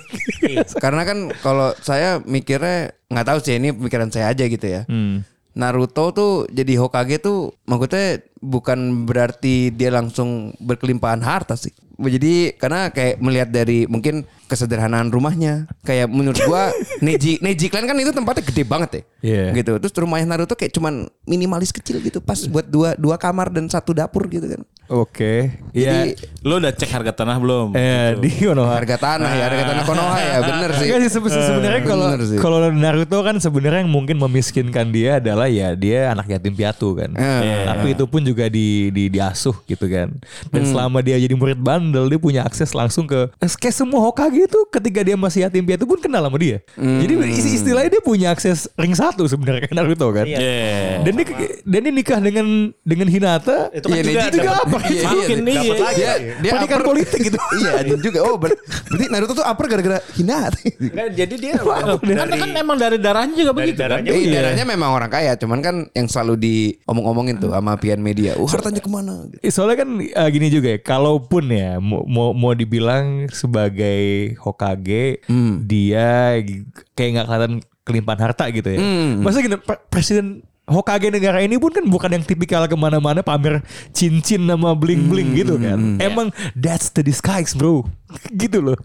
D: Karena kan kalau saya mikirnya nggak tahu sih ini pikiran saya aja gitu ya.
A: Hmm.
D: Naruto tuh jadi Hokage tuh maksudnya bukan berarti dia langsung berkelimpahan harta sih. Jadi karena kayak melihat dari mungkin kesederhanaan rumahnya. Kayak menurut gua Neji Neji Clan kan itu tempatnya gede banget ya.
A: Iya.
D: Gitu. Terus rumahnya Naruto kayak cuman minimalis kecil gitu pas buat dua dua kamar dan satu dapur gitu kan.
A: Oke. Iya.
D: Jadi
B: Lo udah cek harga tanah belum?
A: Eh, di Konoha.
D: harga tanah ya, harga tanah Konoha ya, bener sih.
A: Iya. Enggak sih sebe- sebenarnya kalau
D: Bener Iya, sih.
A: kalau Naruto kan sebenarnya yang mungkin memiskinkan dia adalah ya dia anak yatim piatu kan.
C: Iya.
D: Eh.
A: Tapi itu pun juga di di diasuh gitu kan. Dan
D: Hmm.
A: selama dia jadi murid bandel dia punya akses langsung ke eh, kayak semua Hokage itu ketika dia masih yatim piatu pun kenal sama dia.
D: Hmm.
A: Jadi is- istilahnya dia punya akses ring satu sebenarnya kan Naruto kan.
C: Iya.
B: Yeah.
A: Dan dia, dan dia nikah dengan dengan Hinata.
C: Itu kan
D: Iya,
C: juga
D: Neji
A: juga
C: dapat-
A: apa?
D: Iya, iya,
B: Makin
D: iya.
B: nih.
C: dapat lagi.
D: Dia, dia
A: Pendidikan
D: upper.
A: politik gitu.
D: iya anjing juga. Oh ber- berarti Naruto tuh upper gara-gara Hinata.
C: Nggak, jadi dia
B: Kan, kan emang dari darahnya juga
C: dari
B: begitu kan?
C: darahnya
D: Eh, darahnya memang orang kaya, cuman kan yang selalu diomong-omongin tuh sama pian media. Uh, hartanya kemana?
A: Eh, Soalnya kan eh, gini juga ya, kalaupun ya mau mau, mau dibilang sebagai Hokage dia g- kayak nggak kelihatan kelimpahan harta gitu ya. Maksudnya gini, pre- presiden Hokage negara ini pun kan bukan yang tipikal kemana-mana pamer cincin sama bling-bling gitu kan. Emang that's the disguise bro. gitu loh.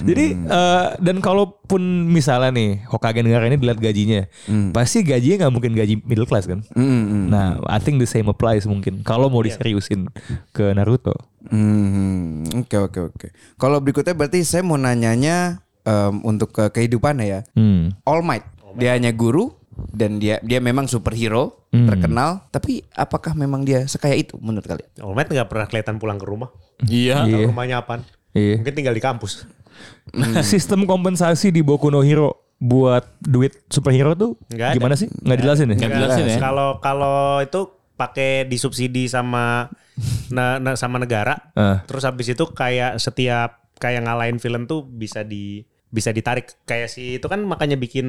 A: Jadi eh, dan kalaupun misalnya nih Hokage negara ini dilihat gajinya. Pasti gajinya nggak mungkin gaji middle class kan. Nah, I think the same applies mungkin kalau mau
C: Iya.
A: diseriusin ke Naruto.
D: Hmm, oke oke oke. Kalau berikutnya berarti saya mau nanyanya em, untuk ke kehidupannya ya.
A: Hmm.
D: All Might, dia hanya guru dan dia dia memang superhero terkenal, tapi apakah memang dia sekaya itu menurut kalian?
C: Omet nggak pernah kelihatan pulang ke rumah.
B: Iya.
C: Tahu rumahnya apaan?
A: Iya.
C: Mungkin tinggal di kampus.
A: Sistem kompensasi di Boku no Hero buat duit superhero tuh
C: Nggak ada.
A: gimana sih? Nggak dijelasin ya?
B: Nggak jelasin ya.
C: Nah, Kalau kalau itu pakai disubsidi sama na- na- sama negara.
A: Eh.
C: Terus habis itu kayak setiap kayak ngalahin film tuh bisa di bisa ditarik kayak si itu kan makanya bikin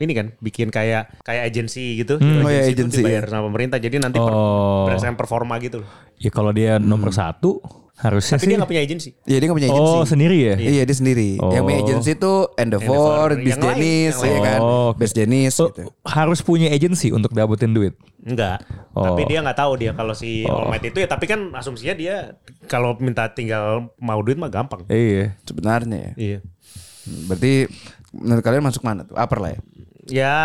C: ini kan bikin kayak kayak agensi gitu.
D: Oh ya,
C: itu
D: agensi,
C: dibayar sama pemerintah. Jadi nanti per-
A: Oh.
C: berdasarkan performa gitu loh.
A: Ya kalau dia nomor satu harusnya Ya
C: Tapi
A: sih.
C: dia nggak punya agensi.
D: Iya dia nggak punya agensi.
A: oh sendiri ya?
D: Iya dia sendiri. Yang punya
A: Oh.
D: agensi itu Endeavor,
C: Endeavor,
D: Bis
C: yang lain,
D: Dennis,
C: yang
D: ya
A: lain.
D: kan?
A: Oh, oke.
D: Bis Dennis
A: Oh,
D: gitu.
A: harus punya agensi untuk dapetin duit.
C: Enggak.
A: Oh.
C: Tapi dia nggak tahu dia kalau si
D: Oh.
C: All Might itu ya. Tapi kan asumsinya dia kalau minta tinggal mau duit mah gampang.
A: Iya.
D: Sebenarnya ya.
C: Iya.
D: Berarti menurut kalian masuk mana tuh? Upper lah ya.
C: Ya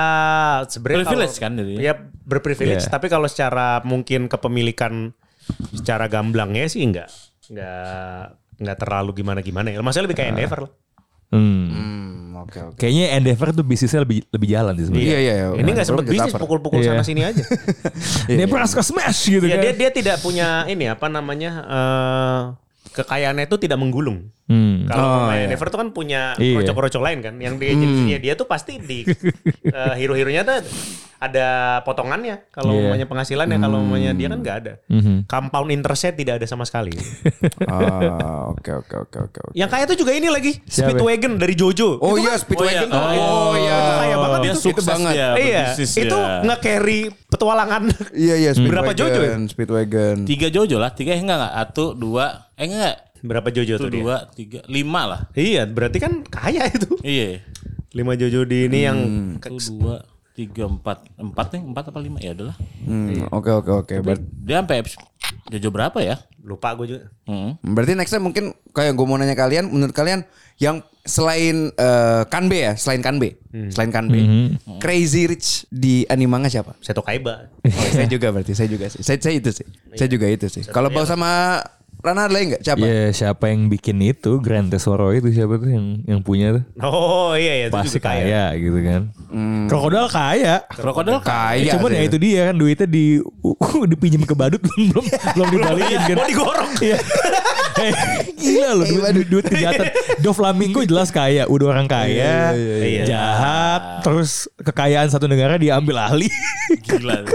C: sebenarnya
B: Privilege
C: kalau-
B: kan jadinya.
C: Ya berprivilege.
A: Iya.
C: Tapi kalau secara mungkin kepemilikan secara gamblangnya sih enggak enggak enggak terlalu gimana gimana ya. Maksudnya lebih kayak
D: Iya.
C: Endeavor lah.
A: Hmm.
D: Hmm, oke oke.
A: Kayaknya Endeavor tuh bisnisnya lebih lebih jalan sih sebenarnya.
D: Iya iya. iya.
C: Ini nggak sempet
D: Belum kita
C: bisnis
D: upper.
C: pukul-pukul
A: Iya.
C: sana sini aja.
D: iya.
A: Nebraska Smash gitu
C: ya,
A: kan.
C: dia dia tidak punya ini apa namanya eh, kekayaannya itu tidak menggulung.
A: Hmm.
D: Oh,
C: Kalau
D: iya.
C: Ryan Never tuh kan punya
A: Iya.
C: rocok-rocok lain kan, yang di agensinya dia tuh pasti di eh, hero-heronya tuh ada potongannya. Kalau
A: Iya.
C: namanya penghasilannya, kalau namanya dia kan nggak ada.
A: Mhm.
C: Compound interestnya tidak ada sama sekali.
D: Ah, Oke oke oke oke. oke.
C: yang kayak tuh juga ini lagi
A: Siapa?
C: Speedwagon dari Jojo.
D: Oh
C: Itu
D: iya,
C: kan-
D: Speedwagon.
B: Oh,
D: tuh.
B: iya.
D: Oh iya.
C: Itu kaya banget
B: Dia
C: itu.
B: sukses
D: Itu banget.
B: dia
C: Iya,
B: berbisnis
C: itu
B: dia.
C: nge-carry petualangan.
D: Iya iya.
C: Berapa
D: Speedwagon,
C: Jojo ya?
D: Speedwagon.
B: Tiga Jojo lah, tiga eh, enggak enggak. Satu, dua, eh enggak.
C: Berapa Jojo tuh
B: Satu,
C: dia?
B: dua, tiga, lima lah.
C: Iya, berarti kan kaya itu.
B: Iya.
C: 5 Jojo di ini yang
B: Satu, dua, tiga, empat. Empat nih, empat apa lima? Ya adalah.
D: Hmm, Oke oke oke. Ber-
B: Dia sampai episode- Jojo berapa ya?
C: lupa gue juga.
B: Hmm.
D: Berarti next time mungkin kayak gue mau nanya kalian, menurut kalian yang selain eh, Kanbe ya, selain Kanbe, selain Kanbe, Crazy Rich di animanga siapa?
C: Seto Kaiba.
D: Oh, saya juga berarti, saya juga sih. Saya, saya itu sih.
A: Iya.
D: Saya juga itu sih. Kalau bau sama Rana ada lagi nggak? Siapa?
A: Ya siapa yang bikin itu Grand Tesoro itu siapa tuh yang yang punya tuh?
C: Oh iya iya itu
A: Pasti
C: juga kaya.
A: kaya. gitu kan.
D: Hmm.
A: Krokodil kaya.
B: Krokodil
C: Iya
D: Kaya.
A: Cuman
D: gitu sih.
A: ya itu dia kan duitnya di dipinjam ke badut belum belum dibalikin kan.
C: Mau Iya, digorong.
A: Iya. Eh, Gila loh duit, duit, duit kejahatan. Doflamingo jelas kaya, udah orang kaya,
C: iya.
A: jahat, terus kekayaan satu negara diambil alih.
B: Gila.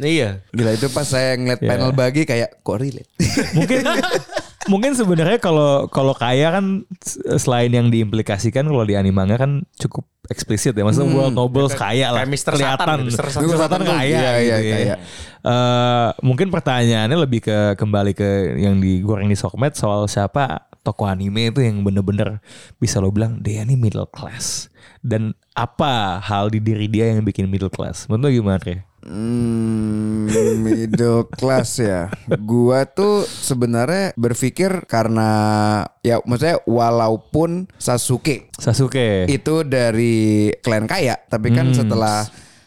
C: Iya.
D: Gila itu pas saya ngeliat panel bagi kayak kok relate.
A: mungkin mungkin sebenarnya kalau kalau kaya kan s- selain yang diimplikasikan kalau di animanga kan cukup eksplisit ya. Maksudnya world nobles kaya lah.
C: Hmm. kayak Mr. Satan,
A: Kelihatan.
C: Mr. Satan.
A: Mr. Satan kaya.
D: Iya, iya,
A: gitu ya.
D: kaya.
A: Eh, mungkin pertanyaannya lebih ke kembali ke yang digoreng di sokmed soal siapa tokoh anime itu yang bener-bener bisa lo bilang dia ini middle class dan apa hal di diri dia yang bikin middle class menurut lo gimana ya?
D: Hmm, middle class ya. Gua tuh sebenarnya berpikir karena ya maksudnya walaupun Sasuke
A: Sasuke
D: itu dari klien kaya tapi
A: Hmm.
D: kan setelah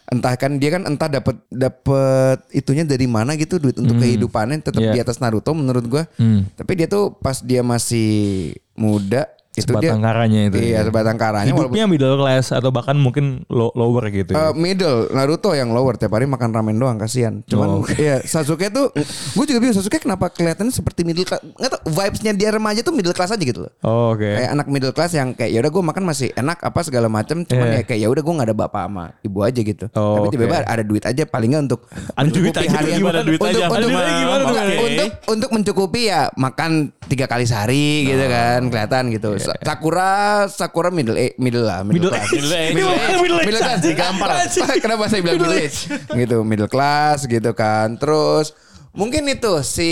D: entah kan dia kan entah dapat dapat itunya dari mana gitu duit untuk kehidupannya tetap
A: Iya.
D: di atas Naruto menurut gua
A: Hmm.
D: tapi dia tuh pas dia masih muda itu
A: Sebatang
D: dia
A: karanya itu
D: iya
A: ya.
D: sebatang karanya walaupun
A: hidupnya middle class atau bahkan mungkin lo- lower gitu ya.
D: eh, middle Naruto yang lower tiap hari makan ramen doang kasihan cuman
A: Oh,
D: iya Sasuke tuh gue juga bingung Sasuke kenapa kelihatannya seperti middle class nggak tau vibesnya dia remaja tuh middle class aja gitu loh
A: Oh, Oke.
D: kayak anak middle class yang kayak ya udah gue makan masih enak apa segala macam cuman
A: Iya.
D: ya kayak ya udah gue nggak ada bapak sama ibu aja gitu
A: Oh,
D: tapi
A: oke.
D: tiba-tiba ada duit aja paling nggak untuk
A: Ada duit
D: mencukupi
A: aja,
D: harian.
A: gimana duit
D: untuk,
A: aja?
D: untuk,
A: Ada duit aja gimana
D: untuk,
A: duit?
D: untuk untuk mencukupi ya makan tiga kali sehari
A: Oh.
D: gitu kan kelihatan gitu Sa- Sakura Sakura middle eh, middle lah middle,
A: Iya, Middle
D: class
A: age.
B: Middle age.
A: Iya, Middle age.
D: Iya, middle class digampar
A: Anjing.
D: kenapa saya bilang middle age gitu middle class gitu kan terus mungkin itu si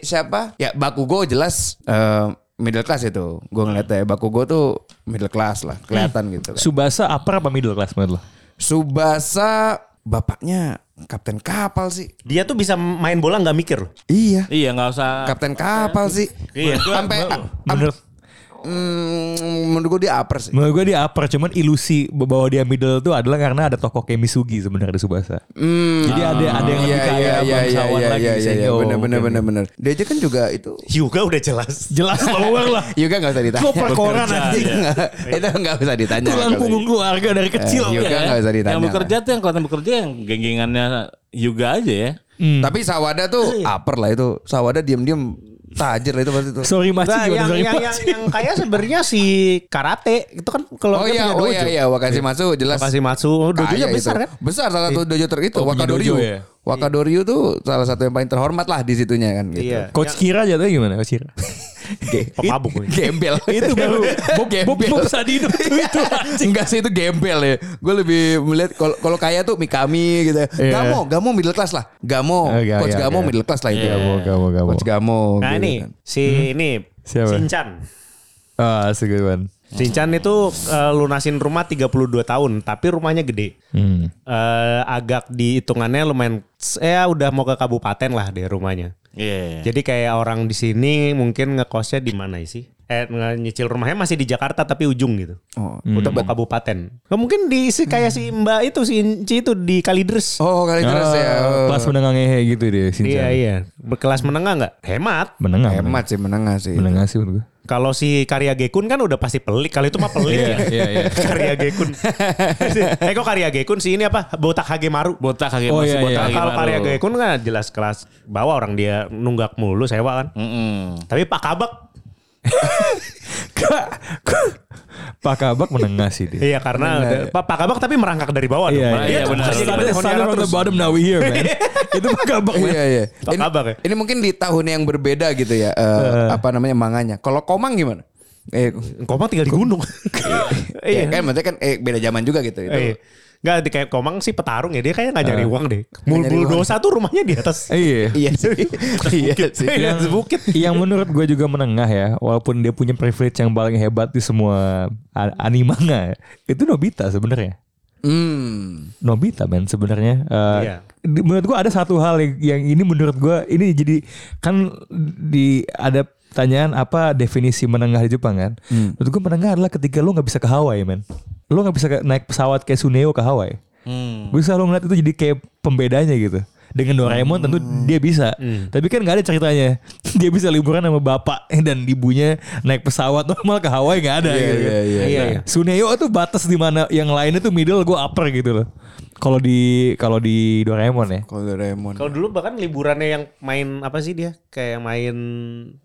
D: siapa ya Bakugo jelas eh, middle class itu gue ngeliatnya Bakugo tuh middle class lah
A: Hmm.
D: kelihatan gitu kan
A: Subasa upper apa middle class menurut lo?
D: Subasa bapaknya kapten kapal sih
C: Dia tuh bisa main bola nggak mikir loh.
D: iya
B: Iya nggak usah.
D: kapten kapal sih
C: Iya.
D: sampai ah,
A: Menurut
D: Hmm, menurut gue dia upper sih
A: menurut gue dia upper cuman ilusi bahwa dia middle itu adalah karena ada tokoh kayak Misugi sebenarnya di Subasa.
D: Hmm.
A: Jadi ada ada yang lebih
D: Iya,
A: kaya
D: iya, iya,
A: bangsawan
D: iya,
A: lagi
D: iya,
A: di
D: iya,
A: Senyo.
D: bener bener
A: Mungkin.
D: bener bener dia aja kan juga itu
C: Hyuga udah jelas.
A: Jelas lower lah.
D: Yoga gak Iya kan, usah ditanya.
A: Lo perkoran
D: Bekerja,
A: anjing.
D: iya. Itu gak usah ditanya.
A: Tulang punggung keluarga dari kecil.
B: iya.
D: Eh, Hyuga nggak usah ditanya
B: kan? Yang
D: lah.
B: bekerja tuh yang kelihatan bekerja yang genggengannya juga aja ya.
A: Hmm. Iya.
D: Tapi Sawada tuh upper lah itu. Sawada diem-diem tajir lah itu pasti itu.
A: Sorry Maci gimana
C: Nggak, Nah, yang,
A: sorry
C: yang, yang,
A: Maci.
C: yang kaya sebenarnya si karate itu kan kalau
D: Oh iya, oh iya, iya, gitu. Wakasi Matsu jelas.
C: Kasih Matsu, oh, dojonya
D: kaya
C: besar
D: itu.
C: kan?
D: Besar salah satu dojo
A: Eh,
D: teritu,
A: punya
D: Wakadoryu.
A: dojo ya?
D: Wakadoryu tuh salah satu yang paling terhormat lah di situnya kan gitu.
C: Iya.
A: Coach Kira jatuhnya gimana Coach Kira?
C: Pemabuk nih.
D: Gembel.
A: itu baru Bob Bob Bob
D: Gembel.
A: Sadino itu itu.
D: Enggak sih itu gembel ya. Gue lebih melihat kalau kalau kaya tuh Mikami gitu. Gamo, Gamo middle class lah. Gamo,
A: Oh, iya,
D: coach
A: iya,
D: Gamo
A: iya.
D: middle class lah itu.
A: Gamo, Gamo, Gamo.
D: Coach Gamo.
C: Nah
D: gitu
C: ini
D: kan.
C: si ini
A: Siapa?
C: Sinchan.
A: Ah, that's a good one.
C: Sinchan itu eh, lunasin rumah 32 tahun, tapi rumahnya gede.
A: Hmm.
C: Eh, agak dihitungannya lumayan saya udah mau ke kabupaten lah deh rumahnya.
B: Iya.
C: Jadi kayak orang di sini mungkin ngekosnya di mana sih? Eh nge- nyicil rumahnya masih di Jakarta tapi ujung gitu.
D: Oh.
A: Hmm.
C: Udah mau kabupaten. Nah, mungkin di si, kayak si Mbak itu si Inci itu di Kalidres.
D: Oh, kali terus ya.
A: Ah,
D: Oh.
A: Kelas menengah ngehe gitu dia
C: iya
A: Sinchan.
C: iya. Berkelas menengah nggak? Hemat.
A: Menengah.
D: Hemat sih menengah
A: menengah.
D: sih.
A: Menengah sih menurut gue.
C: Kalau si Karya Gekun kan udah pasti pelik. Kalau itu mah pelik ya.
A: iya, iya.
C: Karya Gekun. eh kok Karya Gekun sih ini apa? Botak Hage Maru.
B: Botak kaget
A: Oh,
B: masih
A: iya,
B: botak
A: iya.
B: kaget
C: Kalau
B: baru.
C: Karya Gekun kan jelas kelas bawah orang dia nunggak mulu sewa kan.
B: Mm-mm.
C: Tapi Pak Kabak.
A: Pak Kabak menengah sih dia.
C: Iya karena ada- Pak, Pak Kabak tapi merangkak dari bawah dong.
A: Iya,
B: iya,
C: Dia tuh
B: benar.
C: bukannya
A: Started,
C: gimana,
A: started
C: Honda
A: from the
C: terus.
A: bottom now we here man. itu Pak Kabak man.
D: Iya iya.
C: Apa
D: Ini,
C: kabar ya?
D: ini mungkin di tahun yang berbeda gitu ya. eh, Apa namanya manganya? Kalau Komang gimana? Eh,
C: Komang tinggal di gunung.
D: ya
C: Iya.
D: kan maksudnya kan eh, beda zaman juga gitu. Itu.
C: Iya. Enggak di kayak Komang sih petarung ya dia kayak nggak nyari uang deh.
D: nyari
C: Mul
D: uang.
C: dosa tuh rumahnya di atas.
A: Iya.
D: Iya sih. Iya sih.
C: Yang bukit.
A: yang menurut gue juga menengah ya walaupun dia punya privilege yang paling hebat di semua a- animanga ya, itu Nobita sebenarnya
D: Hmm.
A: Nobita men sebenarnya Eh,
C: Iya.
A: di- menurut gue ada satu hal yang, yang ini menurut gue ini jadi kan di ada pertanyaan apa definisi menengah di Jepang kan
D: Hmm.
A: menurut gue menengah adalah ketika lo nggak bisa ke Hawaii men lo nggak bisa ke- naik pesawat kayak Suneo ke Hawaii
D: Hmm.
A: gue selalu ngeliat itu jadi kayak pembedanya gitu dengan Doraemon tentu
D: Hmm.
A: dia bisa tapi kan nggak ada ceritanya dia bisa liburan sama bapak dan ibunya naik pesawat normal ke Hawaii nggak ada gitu kan.
D: Iya iya iya.
C: Iya.
A: Suneo tuh batas di mana yang lainnya tuh middle gue upper gitu loh kalau di kalau di Doraemon ya
D: Kalau Doraemon.
C: Kalau dulu bahkan liburannya yang main apa sih dia? Kayak main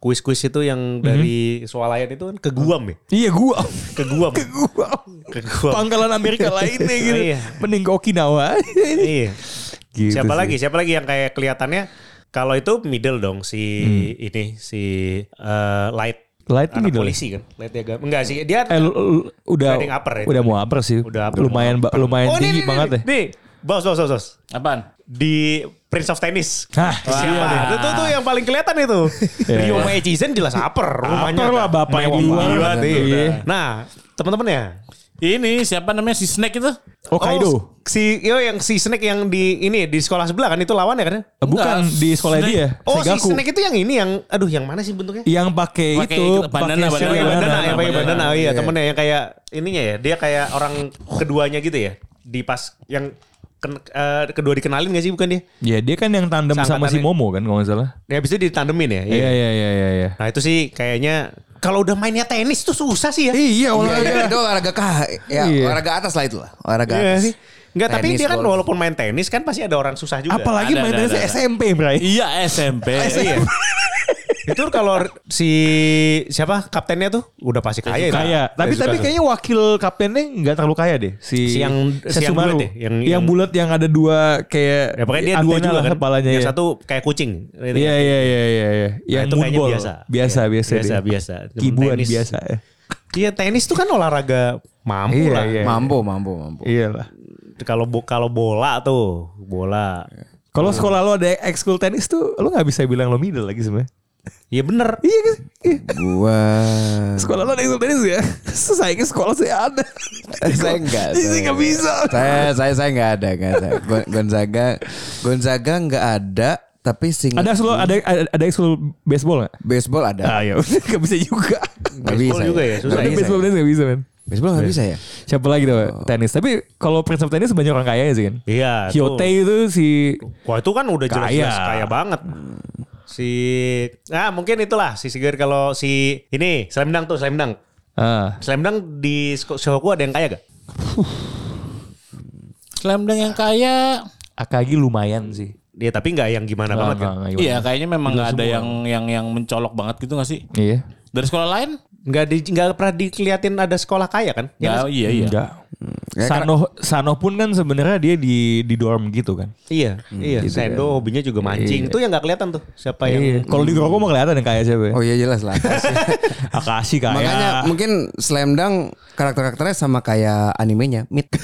C: kuis-kuis itu yang dari swalayan itu kan ke Guam ya?
A: iya gua
C: Ke Guam. ke
A: gua
C: Guam.
A: pangkalan Amerika lainnya gitu
C: Iya.
A: mending ke Okinawa
C: iya.
A: Gitu
C: siapa
A: sih.
C: lagi? Siapa lagi yang kayak kelihatannya kalau itu middle dong si ini si eh, light
A: Light
C: anak
A: middle.
C: polisi kan? Light ya enggak sih dia
A: eh lu- lu- udah
C: Trending upper ya.
A: udah mau upper sih
C: Udah upper.
A: lumayan ba- lumayan
C: Oh,
A: tinggi banget ya. deh
C: nih, Nih, bos bos bos bos.
B: Apaan?
C: Di Prince of Tennis.
A: Hah,
C: Siapa?
B: iya deh.
C: Itu tuh yang paling kelihatan itu. Rio Maechizen jelas upper rumahnya.
A: Upper lah bapaknya
C: Mewah
A: di luar.
C: banget,
A: Iya.
C: iya. Nah, teman-teman ya.
B: Ini siapa namanya si Snack itu?
A: Hokkaido
C: Oh, si yo yang si Snake yang di ini di sekolah sebelah kan itu lawannya kan?
A: Eh, bukan
B: Enggak.
A: di sekolah
B: Snack.
A: dia
C: Oh,
A: Segaku. Iya,
C: si Snake itu yang ini yang aduh yang mana sih bentuknya?
A: yang pakai
B: Pakai
A: itu
B: itu,
A: pakai
C: Yang
B: bandana, Iya,
C: pakai
B: bandana,
C: bandana, yang pakai
B: bandana.
C: bandana. Oh iya, temennya yang kayak ininya ya. Dia kayak orang keduanya gitu ya. Di pas yang ken- eh, kedua dikenalin gak sih bukan dia?
A: ya dia kan yang tandem sama si
C: Seangkatannya.
A: Momo kan kalau nggak salah
C: Ya habis itu ditandemin ya.
A: iya iya iya iya iya.
C: Nah itu sih kayaknya kalau udah mainnya tenis tuh susah sih ya.
D: Iya olahraga itu olahraga kah ya
A: Iya.
D: olahraga atas lah itu lah olahraga
C: Iya
D: atas.
C: sih. Enggak, tapi
D: Tenis,
C: dia kan
D: golf.
C: walaupun main tenis kan pasti ada orang susah juga.
A: apalagi
B: Ada,
A: main
B: ada,
A: tenis
B: ada, ada.
A: SMP Bray
B: Iya SMP.
C: Iya. itu kalau si siapa kaptennya tuh udah pasti kaya itu.
A: kaya ya. tapi
C: Tenis
A: tapi
C: susah.
A: kayaknya wakil kaptennya nggak terlalu kaya deh si,
C: Si yang-
A: Sasumaru.
C: si yang bulat ya?
A: yang,
C: Yang- yang-
A: bulat yang ada dua kayak
C: ya pokoknya dia dua
A: antena
C: juga
A: lah
C: kan.
A: kepalanya
C: yang
A: ya.
C: satu kayak kucing. Gitu.
A: Iya iya iya iya iya. Yang
C: itu kayaknya
A: moonball.
C: biasa.
A: Biasa
C: Iya,
A: biasa.
C: biasa,
A: deh.
C: biasa. Cuman
A: Kibuan
C: tenis.
A: biasa ya.
C: Iya tenis tuh kan olahraga mampu
A: Iya,
C: lah.
A: iya.
D: mampu mampu mampu
A: Iya lah.
C: Kalau bo- kalau bola tuh bola.
A: Kalau
C: Nah.
A: sekolah lo ada ekskul tenis tuh lo nggak bisa bilang lo middle lagi sebenarnya.
C: Iya bener.
A: Iya kan? Iya.
D: gua
A: Sekolah lo ada ekskul tenis ya? Sayangnya sekolah saya ada.
C: Eh,
D: saya enggak
A: Jadi nggak bisa.
D: saya saya saya enggak ada enggak ada Gon- Gonzaga Gonzaga enggak ada tapi sing
A: Ada ekskul ada ada, ada ekskul baseball nggak?
D: baseball ada
A: Ah ya, nggak bisa juga.
D: Nggak
C: Baseball
D: bisa
C: juga ya, susah
D: Nggak
A: Tapi
C: ya. Iya.
D: bisa
A: baseball tenis nggak bisa men.
D: baseball nggak bisa ya
A: Siapa lagi tuh tenis? Tapi kalau Prince of Tennis banyak orang kaya sih kan.
C: Oh. Iya. tuh.
A: Hyote itu si
C: Wah itu kan udah jelas-jelas
A: Kaya.
C: kaya. banget. Si ah mungkin itulah si Sigir kalau si ini Slam Dunk tuh Slam Dunk.
A: ah,
C: Slam Dunk di Sko- Shohoku ada yang kaya gak?
B: Slam Dunk yang kaya.
A: Akagi lumayan sih.
C: Ya tapi nggak yang gimana banget kan.
B: Iya, kayaknya memang nggak ada yang yang yang mencolok banget gitu gak sih?
A: Iya.
B: Dari sekolah lain?
C: Nggak di nggak pernah dikeliatin ada sekolah kaya kan? Ya,
B: Nggak, iya iya.
A: Enggak.
C: Hmm.
D: kayak
A: Sano Sano pun kan sebenarnya dia di di dorm gitu kan.
C: Iya, iya. Sendo hobinya juga mancing. Itu yang nggak kelihatan tuh siapa yang
A: Iya. Kalau di Groko mah kelihatan yang kayak siapa ya?
D: Oh iya jelas lah.
A: Akashi kayak.
D: Makanya mungkin Slam Dunk karakter-karakternya sama kayak animenya, Mit.